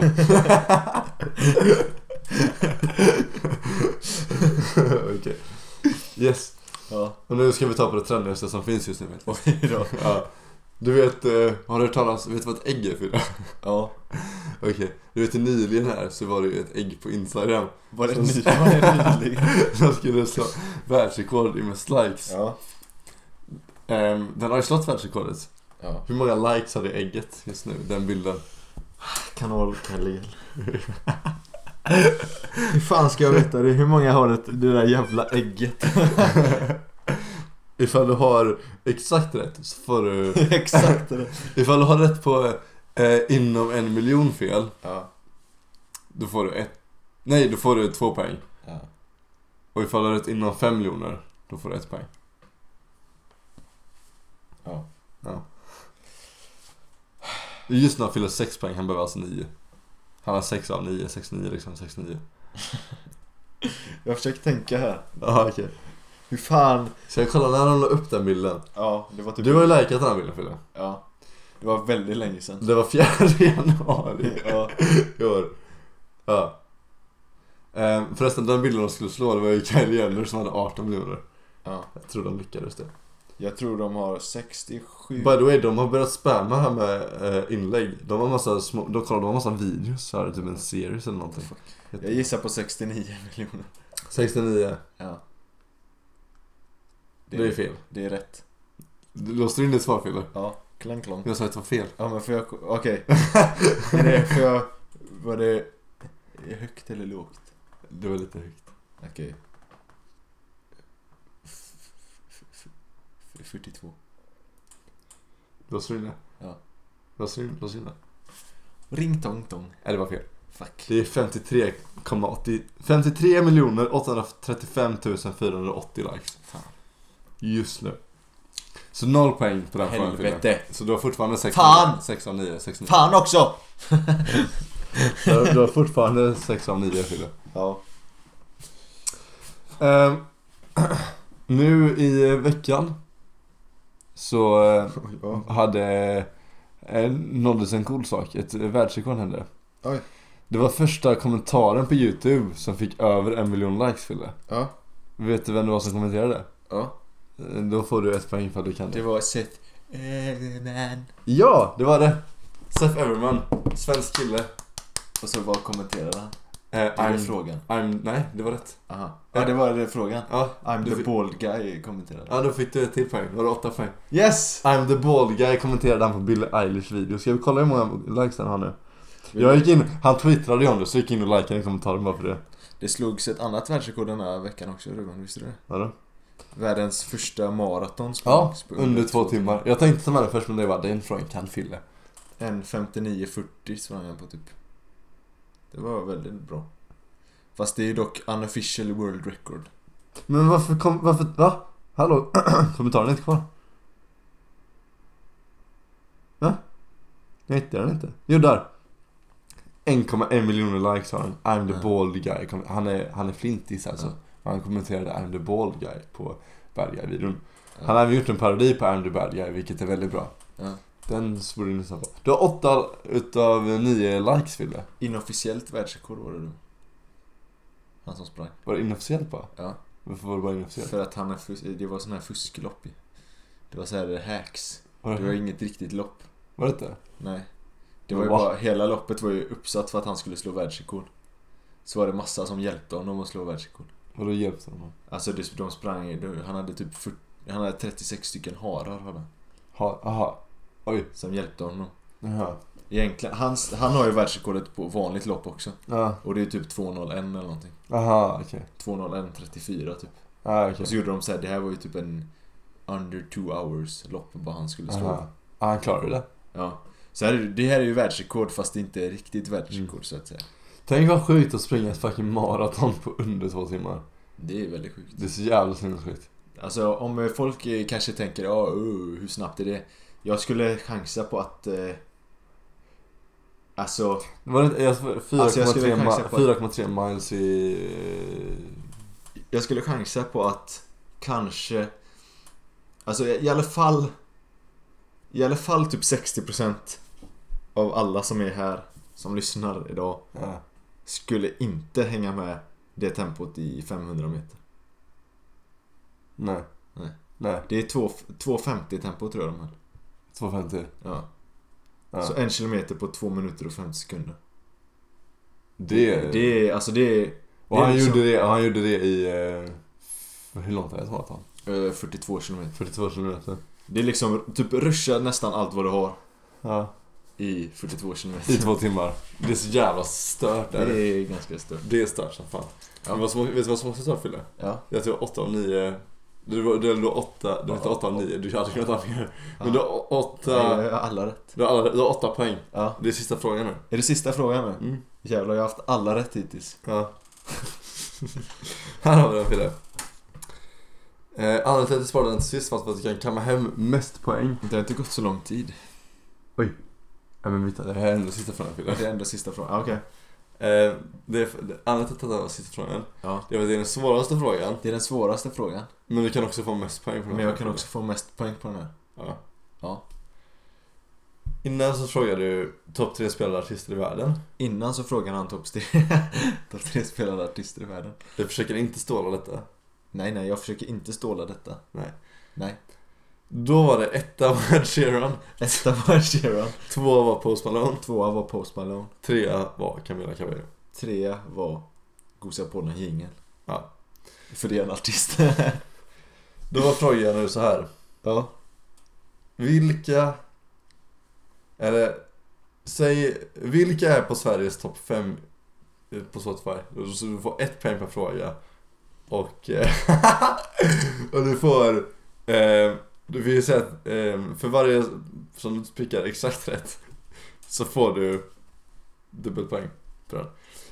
Speaker 1: Okej. Yes.
Speaker 2: Ja.
Speaker 1: Och nu ska vi ta på det trendigaste som finns just nu. vet du.
Speaker 2: (laughs) Oj då.
Speaker 1: Ja. Du vet, eh, har du hört talas, vet du vad ett ägg är
Speaker 2: (laughs)
Speaker 1: Fille?
Speaker 2: Ja.
Speaker 1: Okej, du vet nyligen här så var det ju ett ägg på Instagram
Speaker 2: Var det
Speaker 1: Så-
Speaker 2: (laughs) ny- var det nyligen?
Speaker 1: (laughs) som skulle slå världsrekord i mest likes.
Speaker 2: Ja.
Speaker 1: Ehm, den har ju slått världsrekordet.
Speaker 2: ja.
Speaker 1: Hur många likes har det ägget just nu, den
Speaker 2: (laughs)
Speaker 1: bilden?
Speaker 2: Kanal Kalel. Hur fan ska jag veta det? Hur många har det, det där jävla ägget?
Speaker 1: Ifall du har exakt rätt så får du...
Speaker 2: (laughs) (laughs) Exakt det.
Speaker 1: Ifall du har rätt på eh, inom en miljon fel,
Speaker 2: Ja.
Speaker 1: då får du ett... Nej, då får du två poäng.
Speaker 2: ja.
Speaker 1: Och ifall du har rätt inom fem miljoner, då får du ett poäng.
Speaker 2: Ja.
Speaker 1: Ja. Just när han fyller sex poäng, han behöver alltså nio. Han har sex av nio, sex nio liksom, sex nio.
Speaker 2: Jag försöker tänka här.
Speaker 1: Ja, okej.
Speaker 2: Hur fan?
Speaker 1: Så jag kollar när han la upp den bilden.
Speaker 2: Ja, det var typ...
Speaker 1: Du har ju likat den här bilden Fille.
Speaker 2: Ja. Det var väldigt länge sedan.
Speaker 1: Det var fjärde (laughs) januari
Speaker 2: Ja.
Speaker 1: i år. Ja. Ehm, förresten, den bilden de skulle slå, det var ju Kylie Jenner som hade 18 miljoner.
Speaker 2: ja.
Speaker 1: Jag tror de lyckades det.
Speaker 2: Jag tror de har 67.
Speaker 1: By the way, de har börjat spamma här med eh, inlägg. De har massa små, de kollar, de har massa videos så här, typ en series eller någonting.
Speaker 2: Jag gissar på 69 miljoner.
Speaker 1: 69.
Speaker 2: Ja.
Speaker 1: Det är fel.
Speaker 2: Det är rätt.
Speaker 1: Du låste in ditt svar Fille.
Speaker 2: Ja. Klang klong.
Speaker 1: Jag sa att det var fel.
Speaker 2: Ja men får jag... Okej. Är det Får jag... Var det... är det Högt eller lågt?
Speaker 1: Det var lite högt.
Speaker 2: Okej. F- f- f- f- 42.
Speaker 1: Låste du in det?
Speaker 2: Ja.
Speaker 1: Låste du in låste du in det?
Speaker 2: Ring tong tong.
Speaker 1: Nej, det var fel.
Speaker 2: Fuck.
Speaker 1: Det är 53,80 53 miljoner 835 480 likes
Speaker 2: Fan.
Speaker 1: just nu. Så noll poäng på den frågan Fille.
Speaker 2: Helvete.
Speaker 1: Så du har fortfarande 6
Speaker 2: Fan!
Speaker 1: 6 av 9. 6 av 9.
Speaker 2: Fan också!
Speaker 1: Du, du har fortfarande 6 av 9 Fille. (laughs)
Speaker 2: Ja.
Speaker 1: Ehm, (clears throat) nu i veckan så eh, hade eh, nåddes en cool sak. Ett eh, världsrekord hände.
Speaker 2: Oj.
Speaker 1: Det var första kommentaren på YouTube som fick över en miljon likes Fille.
Speaker 2: Ja.
Speaker 1: Vet du vem det var som kommenterade?
Speaker 2: Ja. Typ.
Speaker 1: Eh, Då får du ett poäng ifall du kan det.
Speaker 2: Det var Seth Everman.
Speaker 1: Ja, det var det! Seth Everman, svensk kille.
Speaker 2: Och så vad kommenterade han?
Speaker 1: Eh,
Speaker 2: Det var
Speaker 1: I'm,
Speaker 2: frågan.
Speaker 1: I'm, nej, det var rätt.
Speaker 2: Aha. Ja, det var det frågan.
Speaker 1: Ja,
Speaker 2: I'm
Speaker 1: Du
Speaker 2: the
Speaker 1: fick-
Speaker 2: bald guy kommenterade
Speaker 1: ja då fick du ett till poäng. Då var det åtta poäng.
Speaker 2: Yes!
Speaker 1: I'm the bald guy kommenterade han på Billie Eilish video. Ska vi kolla hur många likes den har nu? Jag gick in, han twittrade ju om det så jag gick in och likade i kommentaren bara för det.
Speaker 2: Det slogs ett annat världsrekord den här veckan också Ruben, visste du det?
Speaker 1: Vadå?
Speaker 2: Världens första maraton
Speaker 1: Ja,
Speaker 2: sprang
Speaker 1: under två timmar. Jag tänkte ta med det först men det var det är en frågan kan fylla.
Speaker 2: En 59.40 sprang han på typ. Det var väldigt bra. Fast det är dock unofficial world record.
Speaker 1: Men varför kom, varför, va? Hallå? (clears throat) Kommentaren är inte kvar. Va? Jag hittade den inte. Jo, där. 1,1 miljoner likes har han. I'm the
Speaker 2: Ja.
Speaker 1: bald guy. Kom- Han är, han är flintis alltså.
Speaker 2: Ja.
Speaker 1: Och Han kommenterade I'm the bald guy på Bad Guy-videon.
Speaker 2: Ja.
Speaker 1: Han har även gjort en parodi på I'm the bad guy, vilket är väldigt bra.
Speaker 2: Ja.
Speaker 1: Den borde ni lyssna på. Du har åtta utav nio likes, Fille.
Speaker 2: Inofficiellt världsrekord var det då. Han som sprang.
Speaker 1: Var det inofficiellt bara?
Speaker 2: Ja.
Speaker 1: Varför var det bara inofficiellt?
Speaker 2: För att han är fus- det var sån här fusklopp ju. Det var så här hacks.
Speaker 1: Var
Speaker 2: Det var
Speaker 1: det,
Speaker 2: inget riktigt lopp.
Speaker 1: var det inte?
Speaker 2: Nej. Det var ju
Speaker 1: Va?
Speaker 2: bara, hela loppet var ju uppsatt för att han skulle slå världsrekord. Så var det massa som hjälpte honom att slå världsrekord.
Speaker 1: Vadå hjälpte honom?
Speaker 2: Alltså det- de sprang, ju- han hade typ 40, han hade 36 stycken harar hade han,
Speaker 1: Ha, aha. Oj.
Speaker 2: Som hjälpte honom.
Speaker 1: Jaha.
Speaker 2: Egentligen, han, han har ju världsrekordet på vanligt lopp också.
Speaker 1: Ja.
Speaker 2: Och det är typ 2.01 eller någonting.
Speaker 1: Aha, okej.
Speaker 2: 2.01.34 typ.
Speaker 1: Ja, okej.
Speaker 2: Och så gjorde de så här, det här var ju typ en under two hours lopp bara han skulle slå.
Speaker 1: Aha. Ah, han klarade det.
Speaker 2: Ja. Så här, är det- det här är ju världsrekord fast det inte är riktigt världsrekord så att säga.
Speaker 1: Tänk vad sjukt att springa ett fucking maraton på under två timmar.
Speaker 2: Det är väldigt sjukt.
Speaker 1: Det är så jävla sinnessjukt.
Speaker 2: Alltså om folk eh, kanske tänker ja, uh, hur snabbt är det? Jag skulle chansa på att... Eh, alltså,
Speaker 1: Det var inte- jag-
Speaker 2: Alltså, jag skulle
Speaker 1: 4,3
Speaker 2: kanske
Speaker 1: ma-
Speaker 2: på-
Speaker 1: 4,3 miles i... eh,
Speaker 2: jag skulle chansa på att kanske... Alltså i alla fall... I alla fall typ 60% av alla som är här, som lyssnar idag,
Speaker 1: Ja.
Speaker 2: skulle inte hänga med det tempot i 500 meter.
Speaker 1: Nej.
Speaker 2: Nej.
Speaker 1: Nej.
Speaker 2: Det är 2 2.50 tempo tror jag de här.
Speaker 1: 2,50.
Speaker 2: Ja.
Speaker 1: Ja.
Speaker 2: Så en kilometer på 2 minuter och 50 sekunder.
Speaker 1: det...
Speaker 2: Det är, alltså det är
Speaker 1: Och
Speaker 2: det är
Speaker 1: han,
Speaker 2: liksom-
Speaker 1: gjorde det, och han gjorde det i... eh, f- Hur långt är det ett maraton?
Speaker 2: eh, 42 kilometer.
Speaker 1: 42 kilometer.
Speaker 2: Det är liksom, typ ruscha nästan allt vad du har
Speaker 1: Ja.
Speaker 2: i 42 kilometer.
Speaker 1: I två timmar. Det är så jävla stört.
Speaker 2: Det
Speaker 1: Det är,
Speaker 2: är ganska stört.
Speaker 1: det är stört som fan.
Speaker 2: Ja.
Speaker 1: Men vad som, vet du vad som också är stört Fille?
Speaker 2: Ja.
Speaker 1: Det är att du har 8 av 9... Du var, du var 8, du var inte 8 av 9, du hade kunnat ha mer. Men du har 8...
Speaker 2: Nej, Alla rätt.
Speaker 1: Du har, alla, du har 8 poäng.
Speaker 2: Ja.
Speaker 1: Det är sista frågan nu.
Speaker 2: Är det sista frågan nu?
Speaker 1: Mm.
Speaker 2: Jävlar, jag har haft alla rätt hittills.
Speaker 1: Ja. Här har vi den Fille. Eh, anledningen till att jag sparade den till sist var för att du kan kamma hem mest poäng.
Speaker 2: Det har inte gått så lång tid.
Speaker 1: Ja men vänta, det här är ändå sista frågan Fille.
Speaker 2: Det är ändå sista frågan. Ah, Okej.
Speaker 1: Eh, det är, det- anledningen till att detta var sista frågan,
Speaker 2: Ja.
Speaker 1: det var att det är den svåraste frågan.
Speaker 2: Det är den svåraste frågan.
Speaker 1: Men du kan också få mest poäng på den
Speaker 2: Men
Speaker 1: här
Speaker 2: jag kan
Speaker 1: frågan.
Speaker 2: också få mest poäng på den här.
Speaker 1: Ja.
Speaker 2: Ja.
Speaker 1: Innan så frågade du topp tre spelare och artister i världen.
Speaker 2: Innan så frågade han topp (laughs) top tre spelande artister i världen.
Speaker 1: Du försöker inte ståla detta.
Speaker 2: Nej, nej, jag försöker inte ståla detta.
Speaker 1: Nej.
Speaker 2: Nej.
Speaker 1: Då var det etta var Ed Sheeran,
Speaker 2: Etta var Ed Sheeran.
Speaker 1: tvåa var Post Malone,
Speaker 2: Tvåa var Post Malone.
Speaker 1: trea var Camila Cabello.
Speaker 2: Trea var Gosa på den jingeln.
Speaker 1: Ja.
Speaker 2: För det är en artist.
Speaker 1: Då var frågan nu så här.
Speaker 2: (laughs) ja.
Speaker 1: Vilka... Eller... Säg, vilka är på Sveriges topp 5 på Spotify? Så du får ett poäng per fråga. Och... eh, (laughs) och du får... Eh, du vill säga att eh, för varje som du prickar exakt rätt så får du dubbelpoäng på den.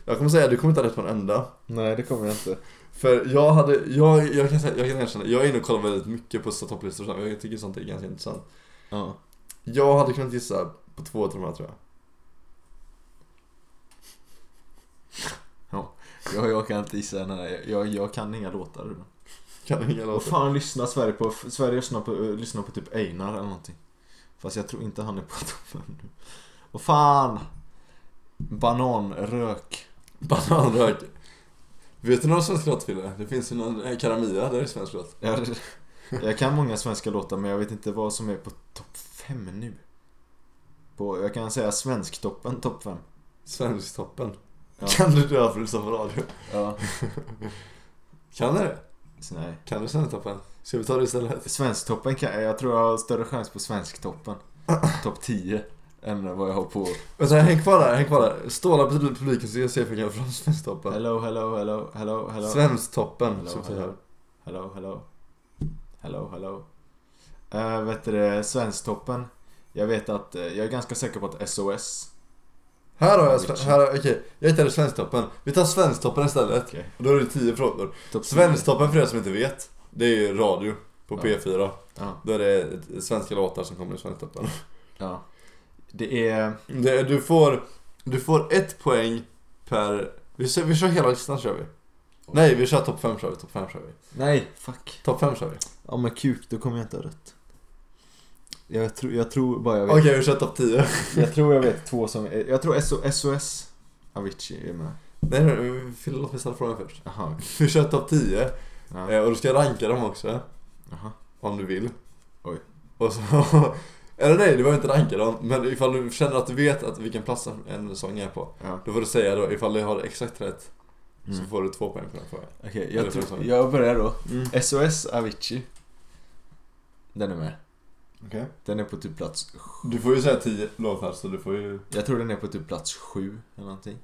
Speaker 1: Jag kommer säga att du kommer inte ha rätt på en enda.
Speaker 2: Nej, det kommer jag inte.
Speaker 1: För jag hade, jag, jag, kan, säga- jag kan erkänna, jag är inne och kollar väldigt mycket på så topplistor och sånt. Jag tycker sånt är ganska intressant.
Speaker 2: Ja.
Speaker 1: Jag hade kunnat gissa på två av de här tror jag.
Speaker 2: Jag, jag kan inte gissa den här. Jag, jag kan inga låtar. Ruben.
Speaker 1: Kan inga
Speaker 2: Vad
Speaker 1: låtar.
Speaker 2: fan lyssnar Sverige på? Sverige lyssnar på, eh, lyssnar på typ Einar eller någonting. Fast jag tror inte han är på toppen nu. Vad fan! Bananrök.
Speaker 1: Bananrök. Vet du någon svensk låt Fille? Det finns ju någon, eh, Karamia, det är svensk låt.
Speaker 2: Jag, jag kan många svenska låtar men jag vet inte vad som är på topp 5 nu. På, jag kan säga Svensktoppen topp 5.
Speaker 1: Svensktoppen.
Speaker 2: Ja.
Speaker 1: Kan du dö för att lyssna på radio?
Speaker 2: Ja.
Speaker 1: Kan du det?
Speaker 2: Så nej.
Speaker 1: Kan du Svensktoppen? Ska vi ta det istället?
Speaker 2: Svensktoppen kan jag, tror jag har större chans på Svensktoppen. Topp 10. Än vad jag har på
Speaker 1: Vänta, häng kvar där, häng kvar där. Ståla på publiken så jag ser ifall jag kan få fram Svensktoppen.
Speaker 2: Hello, hello, hello, hello, hello.
Speaker 1: Svensktoppen, som
Speaker 2: Hello,
Speaker 1: vi säger.
Speaker 2: hello. Hello, hello. Hello, hello. Eh, vet du det, Svensktoppen. Jag vet att, eh, jag är ganska säker på att SOS.
Speaker 1: Här har jag, sven- här har, okej, jag hittade Svensktoppen. Vi tar Svensktoppen istället.
Speaker 2: Okej.
Speaker 1: Och då är det 10 frågor.
Speaker 2: Topp 10.
Speaker 1: Svensktoppen för er som inte vet, det är ju radio på
Speaker 2: Ja.
Speaker 1: P4.
Speaker 2: Ja,
Speaker 1: Då är det svenska låtar som kommer i Svensktoppen.
Speaker 2: ja. Det är,
Speaker 1: Det- Du får Du får ett poäng per... Vi, ser, vi kör hela listan kör vi. Nej, vi kör topp 5 kör vi, topp 5 kör vi.
Speaker 2: Nej, fuck.
Speaker 1: Topp 5 kör vi.
Speaker 2: Ja men kuk, då kommer jag inte ha rött. Jag, tror- jag tror bara jag vet.
Speaker 1: Okej, vi kör topp 10.
Speaker 2: (laughs) Jag tror jag vet två som... Jag tror SO, SOS Avicii är med.
Speaker 1: Nej, nej, nej, Fille, låt mig ställa frågan först.
Speaker 2: Jaha.
Speaker 1: Vi kör topp 10
Speaker 2: Ja.
Speaker 1: eh, och du ska ranka dem också.
Speaker 2: Jaha.
Speaker 1: Om du vill.
Speaker 2: Oj.
Speaker 1: Och så... (laughs) Eller nej, du behöver inte ranka dem. Men ifall du känner att du vet att vilken plats en sång är på.
Speaker 2: Ja.
Speaker 1: Då får du säga då, ifall du har exakt rätt så
Speaker 2: Mm.
Speaker 1: får du två poäng på den frågan.
Speaker 2: Okej,
Speaker 1: Eller
Speaker 2: jag,
Speaker 1: för
Speaker 2: tror,
Speaker 1: att-
Speaker 2: jag börjar då.
Speaker 1: Mm.
Speaker 2: SOS Avicii. Den är med.
Speaker 1: Okej.
Speaker 2: Den är på typ plats...
Speaker 1: Du får ju säga 10 låtar så du får ju...
Speaker 2: Jag tror den är på typ plats sju eller någonting.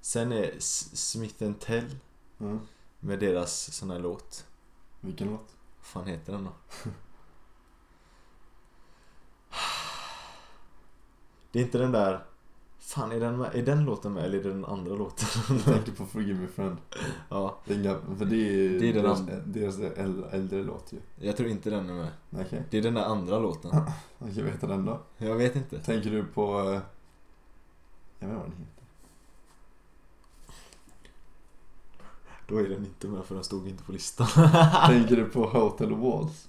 Speaker 2: Sen är S- Smith Tell
Speaker 1: Mm.
Speaker 2: med deras sån här låt.
Speaker 1: Vilken
Speaker 2: (laughs)
Speaker 1: låt?
Speaker 2: Vad fan heter den då? (sighs) Det är inte den där... Fan, är den, med, är den låten med eller är det den andra låten?
Speaker 1: Jag tänkte på Forgive Me Friend.
Speaker 2: Ja,
Speaker 1: Det är inga, för det är,
Speaker 2: Det är den
Speaker 1: deras,
Speaker 2: andra.
Speaker 1: deras äldre, äldre låt ju.
Speaker 2: jag tror inte den är med.
Speaker 1: Nej, Okej,
Speaker 2: Det är den där andra låten.
Speaker 1: okay. okay, vad heter den då?
Speaker 2: Jag vet inte.
Speaker 1: Tänker du på... eh, Jag vet inte vad den heter.
Speaker 2: Då är den inte med för den stod inte på listan. (laughs) Ah!
Speaker 1: Tänker du på Hotel Walls?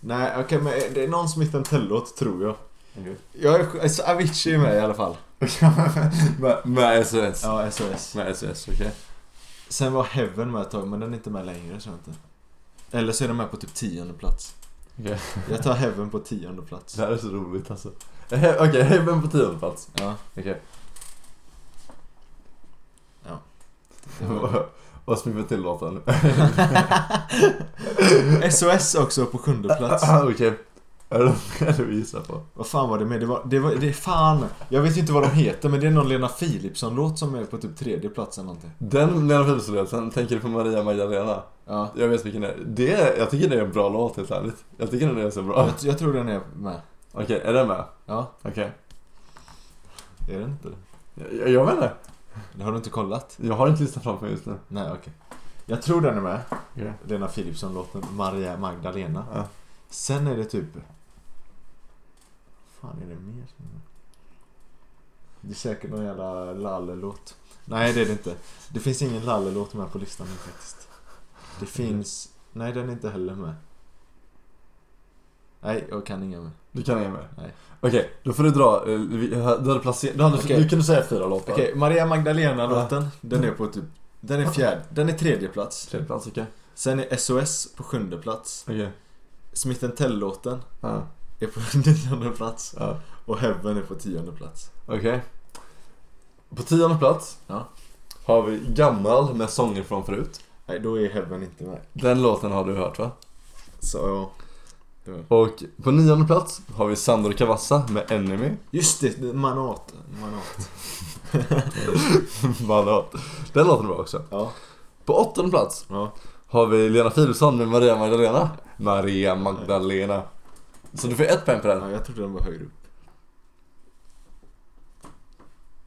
Speaker 2: Nej, okej men det är någon Smith Tell-låt tror jag.
Speaker 1: Okej.
Speaker 2: jag är, alltså, Avicii är med i alla fall.
Speaker 1: (laughs) med, med SOS.
Speaker 2: Ja, SOS.
Speaker 1: Med SOS, okej.
Speaker 2: Sen var Heaven med ett tag men den är inte med längre tror jag inte. Eller så är den med på typ tionde plats.
Speaker 1: Okej.
Speaker 2: Jag tar Heaven på tionde plats.
Speaker 1: Det här är så roligt alltså. He- Okej, Heaven på tionde plats.
Speaker 2: Ja. (laughs)
Speaker 1: Okej.
Speaker 2: Ja.
Speaker 1: (laughs) Vad smyger till låten? (laughs)
Speaker 2: SOS också på sjunde plats.
Speaker 1: Ah, Okej. Är det något du gissar på?
Speaker 2: Vad fan var det med? Det var, det var, det är fan. Jag vet inte vad de heter men det är någon Lena Philipsson-låt som är på typ tredje plats eller någonting.
Speaker 1: Den Lena Philipsson-låten, tänker du på Maria Magdalena?
Speaker 2: Ja.
Speaker 1: Jag vet vilken det är. Det är. Jag tycker det är en bra låt helt ärligt. Jag tycker den är så bra.
Speaker 2: Jag, jag tror den är med.
Speaker 1: Okej, är den med?
Speaker 2: Ja,
Speaker 1: Okej.
Speaker 2: är den inte det?
Speaker 1: Jag, jag vet inte.
Speaker 2: Det har du inte kollat?
Speaker 1: Jag har inte listan framför mig just nu.
Speaker 2: Nej, okej. Jag tror den är med.
Speaker 1: Okej.
Speaker 2: Lena Philipsson-låten Maria Magdalena.
Speaker 1: Ja.
Speaker 2: Sen är det typ... fan är det mer? som är med? Det är säkert någon jävla lallelåt. Nej, det är det inte. Det finns ingen lallelåt med på listan nu faktiskt. Det finns... Nej, den är inte heller med. Nej, jag kan ingen med.
Speaker 1: Du kan hänga med?
Speaker 2: Nej.
Speaker 1: Okej, då får du dra. eh, vi- Du hade placerat... Du, hade,
Speaker 2: Okej.
Speaker 1: du kunde säga fyra låtar.
Speaker 2: Okej, Maria Magdalena-låten. Den är på typ... Den är fjärde... Den är tredje plats.
Speaker 1: Tredje plats, okej.
Speaker 2: Sen är SOS på sjunde plats.
Speaker 1: Okej.
Speaker 2: Smith Tell-låten
Speaker 1: Ja.
Speaker 2: är på (laughs) nionde plats.
Speaker 1: Ja.
Speaker 2: Och Heaven är på tionde plats.
Speaker 1: Okej. På tionde plats
Speaker 2: Ja.
Speaker 1: har vi Gammal med sånger från förut.
Speaker 2: Nej, då är Heaven inte med.
Speaker 1: Den låten har du hört va?
Speaker 2: Så...
Speaker 1: Och på nionde plats har vi Sandor Cavazza med Enemy. (laughs)
Speaker 2: Just det, det- Manat. Manat.
Speaker 1: Manat. Den låten är bra också.
Speaker 2: Ja.
Speaker 1: På åttonde plats
Speaker 2: ja.
Speaker 1: har vi Lena Philipsson med Maria Magdalena. Maria Magdalena. Så du får ett poäng på den.
Speaker 2: ja jag trodde den var högre upp.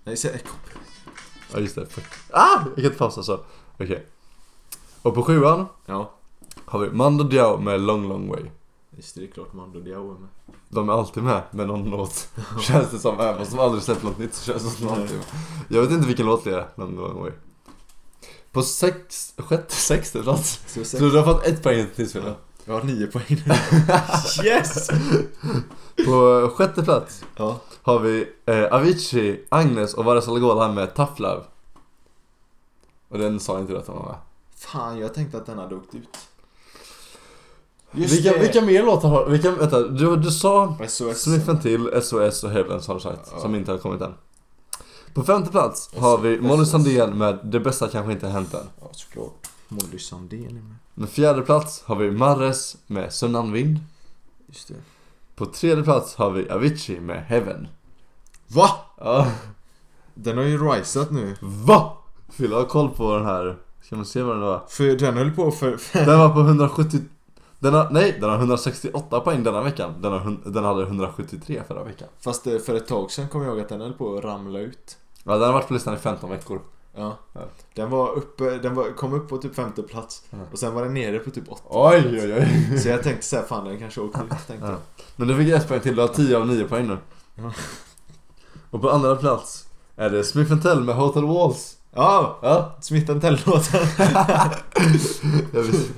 Speaker 2: Nej, så är
Speaker 1: Ja just det. Fuck. Ah! Jag kan inte pausa så. Okej. Och på sjuan
Speaker 2: Ja.
Speaker 1: har vi Mando Diao med Long Long Way.
Speaker 2: Just det, det är klart Mando Diao är med.
Speaker 1: De är alltid med med någon låt. Känns det som. Även fast de aldrig släppt något nytt så känns det som de alltid är med. Jag vet inte vilken låt det är. Long Long Way. På sex, sjätte, sexte plats.
Speaker 2: Så
Speaker 1: Så du har fått ett poäng till Sven.
Speaker 2: Ja. Jag har nio poäng nu. (laughs) yes!
Speaker 1: På sjätte plats
Speaker 2: Ja.
Speaker 1: har vi eh, Avicii, Agnes och Vares Algol med Tough Love. Och den sa inte du att han var med.
Speaker 2: Fan, jag tänkte att den hade åkt ut.
Speaker 1: Vilka, vilka mer låtar har vilka, vänta, du? Du sa
Speaker 2: SOS.
Speaker 1: Sniffen till, SOS och Heavens har du sagt,
Speaker 2: Ja.
Speaker 1: som inte har kommit än. På femte plats har vi Molly
Speaker 2: SOS.
Speaker 1: Sandén med Det bästa kanske inte hänt än.
Speaker 2: Ja, såklart. Molly Sandén är med.
Speaker 1: På fjärde plats har vi Marres med Sunnan Vind.
Speaker 2: Just det.
Speaker 1: På tredje plats har vi Avicii med Heaven.
Speaker 2: Va?
Speaker 1: Ja,
Speaker 2: Den har ju risat nu.
Speaker 1: va? Fylla har koll på den här. Ska man se vad den var?
Speaker 2: För den höll på för...
Speaker 1: Den var på 170... Den har, nej, den har 168 poäng denna veckan. Den, har, hun- den hade 173 förra veckan.
Speaker 2: Fast eh, för ett tag sedan kom jag ihåg att den höll på att ramla ut.
Speaker 1: Ja, den har varit på listan i 15 veckor.
Speaker 2: Ja.
Speaker 1: Ja.
Speaker 2: Den var uppe, den var, kom upp på typ femte plats.
Speaker 1: Ja.
Speaker 2: Och sen var den nere på typ åtta.
Speaker 1: Oj, oj, oj.
Speaker 2: Så jag tänkte såhär, fan den kanske åkte ut tänkte
Speaker 1: Ja.
Speaker 2: jag.
Speaker 1: Men du fick ett poäng till, du har 10 av 9 poäng nu. Och på andra plats är det Smith Tell med Hotel Walls.
Speaker 2: Ja, (laughs)
Speaker 1: Ja,
Speaker 2: Smith Tell-låten. (laughs)
Speaker 1: jag visste.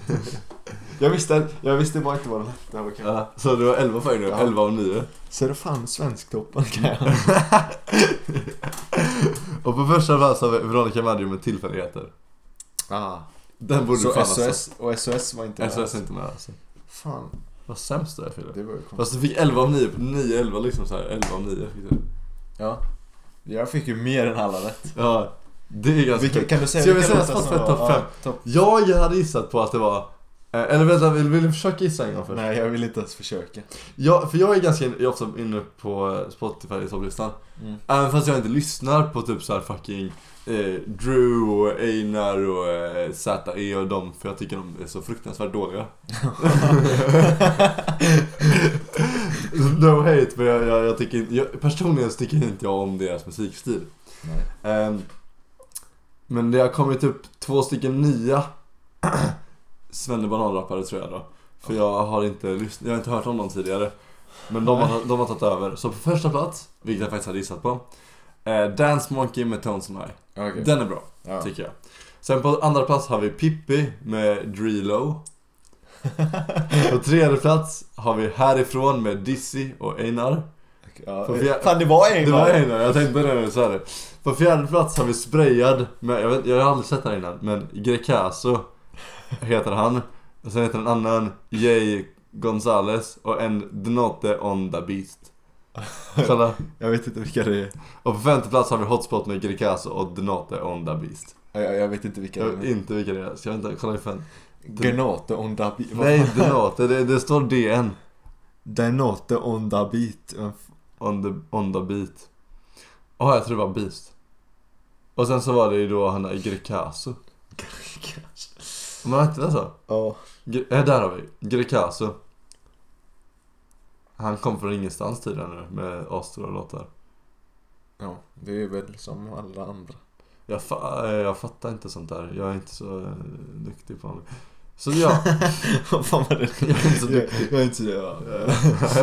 Speaker 2: jag, visste, jag visste bara inte vad den hette. Jag bara, kan-
Speaker 1: Ja, så det var 11 poäng nu,
Speaker 2: Ja.
Speaker 1: 11 av 9.
Speaker 2: Så är det fan Svensktoppen kan jag.
Speaker 1: Och på första plats har vi Veronica Maggio med tillfälligheter.
Speaker 2: Ah.
Speaker 1: Den borde du
Speaker 2: Så
Speaker 1: fan
Speaker 2: SOS, och SOS var inte
Speaker 1: ha
Speaker 2: med.
Speaker 1: sett. SOS är inte med alltså.
Speaker 2: Fan,
Speaker 1: Vad sämst du är Fille.
Speaker 2: det var ju konstigt.
Speaker 1: Fast du fick 11 av 9 på 9, 11 liksom såhär, 11 av 9 fick du.
Speaker 2: Ja. Jag fick ju mer än alla rätt.
Speaker 1: Ja, det är ganska
Speaker 2: Vilka,
Speaker 1: sjukt.
Speaker 2: kan du säga
Speaker 1: Ska vi
Speaker 2: vilka
Speaker 1: säga
Speaker 2: låtar som
Speaker 1: Spotify
Speaker 2: var-
Speaker 1: topp fem?
Speaker 2: ja, topp-
Speaker 1: Jag hade gissat på att det var... eh, Eller vänta, vill, vill du försöka gissa en gång först?
Speaker 2: Nej, jag vill inte ens försöka.
Speaker 1: Jag, för jag är ganska in, jag är ofta inne på eh, Spotify i topplistan.
Speaker 2: Mm.
Speaker 1: Även fast jag inte lyssnar på typ såhär fucking eh, Drew och Einar och eh, ZE och dem för jag tycker de är så fruktansvärt dåliga. (laughs) no hate men jag, jag, jag tycker inte- jag, personligen så tycker inte jag om deras musikstil.
Speaker 2: Nej.
Speaker 1: Ehm, men det har kommit upp två stycken nya (clears throat) svennebananrappare tror jag då. För jag har inte lyssnat, jag har inte hört om dem tidigare. Men de har, de har tagit över. Så på första plats, vilket jag faktiskt hade gissat på. Eh, Dance Monkey med Tones and I.
Speaker 2: Okej.
Speaker 1: Den är bra,
Speaker 2: Ja.
Speaker 1: tycker jag. Sen på andra plats har vi Pippi med
Speaker 2: (laughs)
Speaker 1: Drilo. På tredje plats har vi Härifrån med Dizzy och Einar.
Speaker 2: Ja. eh,
Speaker 1: För vi-
Speaker 2: Fan, det var en eh.
Speaker 1: Det var
Speaker 2: gång.
Speaker 1: Einar, jag tänkte det när du sa det. På fjärde plats har vi sprayad med, jag, vet, jag har aldrig sett den innan, men Grecaso heter han. Och sen heter en annan Jay Gonzales och en Denote on the Beast. Kolla.
Speaker 2: Jag vet inte vilka det är.
Speaker 1: Och på femte plats har vi Hotspot med Grecaso och Denote on the Beast.
Speaker 2: Ja, Jag, jag vet inte vilka
Speaker 1: Jag
Speaker 2: det
Speaker 1: vet
Speaker 2: är.
Speaker 1: inte vilka det är, ska jag inte kolla i fem?
Speaker 2: Gnote on da beat.
Speaker 1: Nej, Denote, det, det står DN.
Speaker 2: Denote on da beat. Vem f-
Speaker 1: On the, on the beat. Åh, jag tror det var Beast. Och sen så var det ju då han där Grecaso. Men hette det så?
Speaker 2: Ja.
Speaker 1: Gre- eh, där har vi. Grecaso. Han kom från ingenstans tidigare nu med asstora låtar.
Speaker 2: Ja, det är väl som alla andra.
Speaker 1: Jag, fa- eh, jag fattar inte sånt där. Jag är inte så eh, duktig på honom. Så ja,
Speaker 2: (laughs) Vad fan var det?
Speaker 1: jag är inte (laughs) så
Speaker 2: (laughs) Jag,
Speaker 1: duktig.
Speaker 2: jag är inte så... Ja.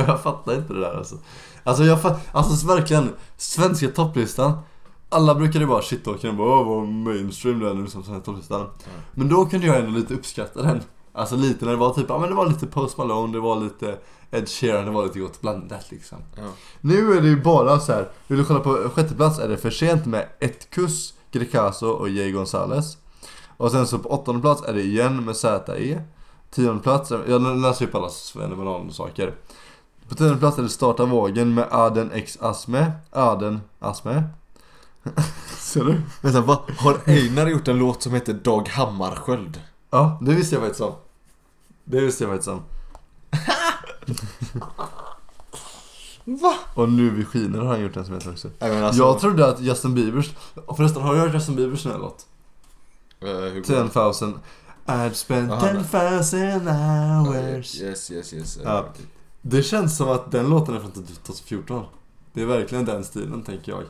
Speaker 1: (laughs) jag fattar inte det där alltså. Alltså jag fa- alltså verkligen, svenska topplistan. Alla brukade bara shittalka och bara åh vad mainstream det är nu som svenska topplistan. Men då kunde jag ändå lite uppskatta den. Alltså lite när det var typ, ja men det var lite Post Malone, det var lite Ed Sheeran, det var lite gott blandat liksom.
Speaker 2: Ja.
Speaker 1: Nu är det ju bara så här. vill du kolla på sjätte plats är det för sent med ett kuss, Grecaso och Jay Gonzales. Och sen så på åttonde plats är det igen med ZE. Tionde plats, är- jag läser upp alla svennebanan-saker. På tionde plats är det Starta vågen med Aden X Asme. Aden Asme. (laughs) Ser du?
Speaker 2: Vänta, vad? Har Einar gjort en låt som heter Dag Hammarskjöld?
Speaker 1: Ja, det visste jag faktiskt om. Det visste jag faktiskt om.
Speaker 2: Va?
Speaker 1: Och nu vid skiner har han gjort en som heter också.
Speaker 2: Nej, men alltså,
Speaker 1: Jag trodde att Justin Biebers, och förresten har du hört Justin Biebers nya låt?
Speaker 2: Eh, hur går det?
Speaker 1: 10,000 I've spent
Speaker 2: Aha.
Speaker 1: 10,000 hours
Speaker 2: Yes, yes, yes.
Speaker 1: Ja. Det känns som att den låten är från typ 2014 Det är verkligen den stilen tänker jag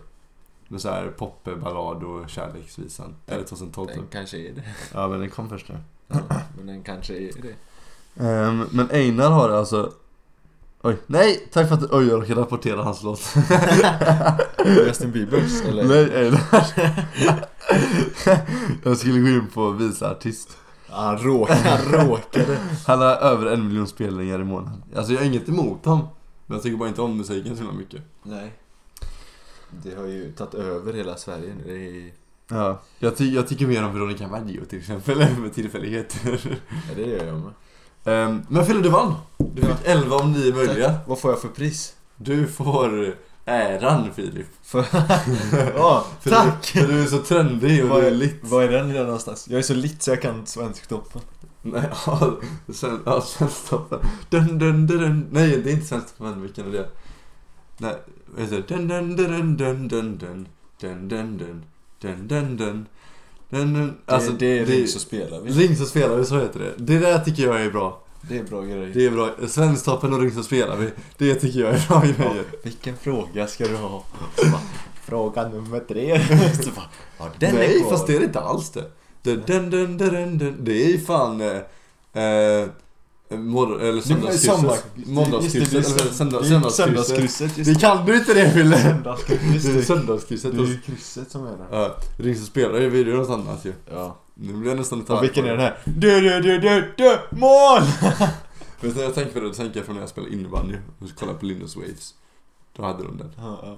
Speaker 1: Med så här popballad och kärleksvisan Eller 2012 typ.
Speaker 2: Den kanske är det.
Speaker 1: Ja men den kom först nu
Speaker 2: (laughs) Ja, men den kanske är det.
Speaker 1: Ehm, Men Einar har alltså Oj, nej! Tack för att oj, jag råkade rapportera hans låt
Speaker 2: (laughs) Justin Biebers eller?
Speaker 1: Nej Einar (laughs) Jag skulle gå in på visa artist
Speaker 2: Han råkade, han (laughs) råkade.
Speaker 1: Han har över en miljon spelningar i månaden. Alltså jag har inget emot honom. Men jag tycker bara inte om musiken så himla mycket.
Speaker 2: Nej. Det har ju tagit över hela Sverige nu. Det är...
Speaker 1: Ja. Jag, ty- jag tycker mer om Veronica Maggio till exempel, (laughs) med tillfälligheter.
Speaker 2: Ja, det gör jag med.
Speaker 1: Ehm, men Fille, du vann! Du fick 11 av 9 möjliga.
Speaker 2: Vad får jag för pris?
Speaker 1: Du får äran Filip.
Speaker 2: För... (laughs) ja,
Speaker 1: För
Speaker 2: tack!
Speaker 1: Du, för du är så trendig och
Speaker 2: Vad
Speaker 1: du
Speaker 2: är,
Speaker 1: är lit.
Speaker 2: vad är den där någonstans? Jag är så lit så jag kan Svensktoppen.
Speaker 1: Nej, (laughs) ja, sen, ja, sen stoppar dun, dun, dun, dun. Nej, det är inte Svensktoppen. Vilken är det? Nej, vad heter det? Dun, dun, dun, dun, dun, dun, dun, dun, dun, dun, dun, dun, dun, dun, dun. Alltså,
Speaker 2: det, är ring så spelar vi.
Speaker 1: Ring så spelar vi, så heter det. Det där tycker jag är bra.
Speaker 2: Det är bra grejer.
Speaker 1: Det är bra. Svensktoppen och Ring så spelar vi. Det tycker jag är bra grejer.
Speaker 2: Vilken fråga ska du ha? Så bara, Fråga nummer tre. (laughs) Så bara, ja, den är
Speaker 1: Nej,
Speaker 2: kvar.
Speaker 1: fast det är det inte alls det. Dun, dun, dun, dun, dun, dun. Det är ju fan... Eh, eh, Morgon, eller
Speaker 2: Det var sommar-
Speaker 1: söndagskrysset. Måndagskrysset.
Speaker 2: Just det,
Speaker 1: Eller
Speaker 2: det är
Speaker 1: söndag,
Speaker 2: söndagskrysset.
Speaker 1: söndagskrysset.
Speaker 2: just
Speaker 1: Det kan du inte det Fille!
Speaker 2: det. Söndagskrysset.
Speaker 1: Det är
Speaker 2: Just det.
Speaker 1: söndagskrysset.
Speaker 2: Det är ju krysset som är det.
Speaker 1: Ja, ring så spelar ju videor och sånt annars ju.
Speaker 2: Ja.
Speaker 1: Nu blir jag nästan lite
Speaker 2: Och
Speaker 1: arg
Speaker 2: vilken
Speaker 1: på det.
Speaker 2: är den här? Du, du, du, du, du, mål!
Speaker 1: Vet du när jag tänker på det, då tänker jag från när jag spelade innebandy och så kollade jag på Linus Waves. Då hade de den.
Speaker 2: Ja, ja.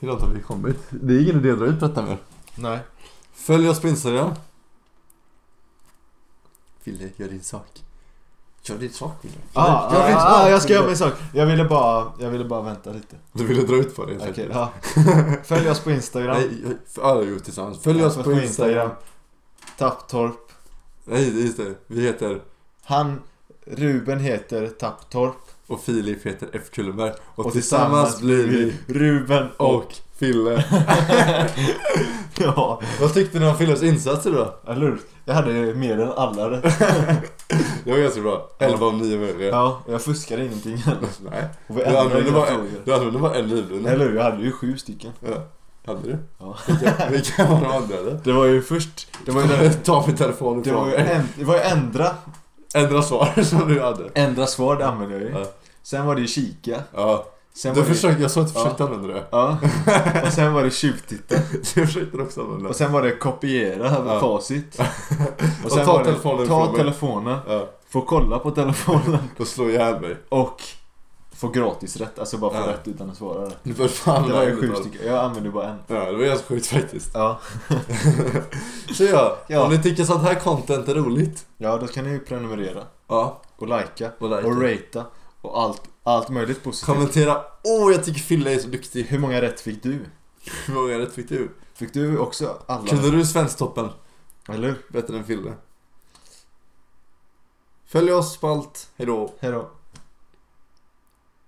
Speaker 1: Hur långt har vi kommit? Det är ingen idé att dra ut detta mer.
Speaker 2: Nej.
Speaker 1: Följ oss på Instagram. Fille, gör din sak. Gör din sak Fille.
Speaker 2: Ah,
Speaker 1: Gör
Speaker 2: ah,
Speaker 1: din
Speaker 2: ah,
Speaker 1: sak,
Speaker 2: jag ska
Speaker 1: Fille.
Speaker 2: göra min sak. Jag ville bara, jag ville bara vänta lite.
Speaker 1: Du ville dra ut på det helt
Speaker 2: Okej,
Speaker 1: enkelt.
Speaker 2: ja. Följ oss på Instagram.
Speaker 1: (laughs) Nej, jag- ja, det har vi gjort tillsammans. Följ oss på Instagram.
Speaker 2: Tapptorp.
Speaker 1: Nej, just det. Vi heter
Speaker 2: Han, Ruben heter Tapptorp.
Speaker 1: och Filip heter F. Kullenberg. Och,
Speaker 2: Och
Speaker 1: tillsammans, blir vi
Speaker 2: Ruben och...
Speaker 1: och Fille.
Speaker 2: (laughs) ja,
Speaker 1: Vad tyckte ni om Filles insatser då?
Speaker 2: eller hur? Jag hade mer än
Speaker 1: (laughs)
Speaker 2: alla rätt.
Speaker 1: Det var ganska bra. 11 av 9 möjliga.
Speaker 2: Ja, och jag fuskade ingenting heller.
Speaker 1: Nej,
Speaker 2: Och vi
Speaker 1: du
Speaker 2: ändrade
Speaker 1: använde,
Speaker 2: inga
Speaker 1: bara,
Speaker 2: frågor.
Speaker 1: du använde bara en livlina.
Speaker 2: Eller hur? Jag hade ju sju stycken.
Speaker 1: Ja. Hade du?
Speaker 2: Ja.
Speaker 1: Vilka- Vilka var de andra då?
Speaker 2: Det var ju först... Det var ju,
Speaker 1: Ta min telefon
Speaker 2: det var
Speaker 1: ifrån
Speaker 2: ju,
Speaker 1: mig.
Speaker 2: änd, det var ju ändra.
Speaker 1: Ändra svar (laughs) som du hade.
Speaker 2: Ändra svar, det använde jag ju.
Speaker 1: Ja.
Speaker 2: Sen var det ju kika.
Speaker 1: Ja.
Speaker 2: Sen
Speaker 1: Du
Speaker 2: var det-
Speaker 1: försökte, jag sa att du
Speaker 2: Ja.
Speaker 1: försökte använda det. (laughs)
Speaker 2: Ja, och sen var det tjuvtitta.
Speaker 1: Jag försökte också använda
Speaker 2: Och
Speaker 1: det.
Speaker 2: sen var det kopiera här med
Speaker 1: Ja.
Speaker 2: (laughs) facit.
Speaker 1: Och ta
Speaker 2: var det
Speaker 1: telefonen
Speaker 2: ta
Speaker 1: ifrån mig.
Speaker 2: telefonen,
Speaker 1: Ja.
Speaker 2: få kolla på (laughs) telefonen
Speaker 1: Då slår jag ihjäl mig.
Speaker 2: och få gratis rätt. Alltså bara få
Speaker 1: Ja.
Speaker 2: rätt utan att svara det.
Speaker 1: Du får fan
Speaker 2: Det var ju
Speaker 1: vad
Speaker 2: sju
Speaker 1: roligt.
Speaker 2: stycken, jag använde bara en.
Speaker 1: Ja, det var ganska sjukt faktiskt.
Speaker 2: Ja.
Speaker 1: Så ja,
Speaker 2: Ja.
Speaker 1: om ni tycker sånt här content är roligt.
Speaker 2: ja, då kan ni ju prenumerera
Speaker 1: Ja,
Speaker 2: och likea
Speaker 1: och like.
Speaker 2: och ratea och allt, allt möjligt positivt.
Speaker 1: Kommentera. Åh, jag tycker Fille är så duktig. (laughs)
Speaker 2: Hur många rätt fick du?
Speaker 1: Hur många rätt fick du?
Speaker 2: Fick du också alla?
Speaker 1: Kunde du Svensktoppen?
Speaker 2: Eller hur?
Speaker 1: Bättre än Fille. Följ oss på allt. Hejdå.
Speaker 2: Hejdå.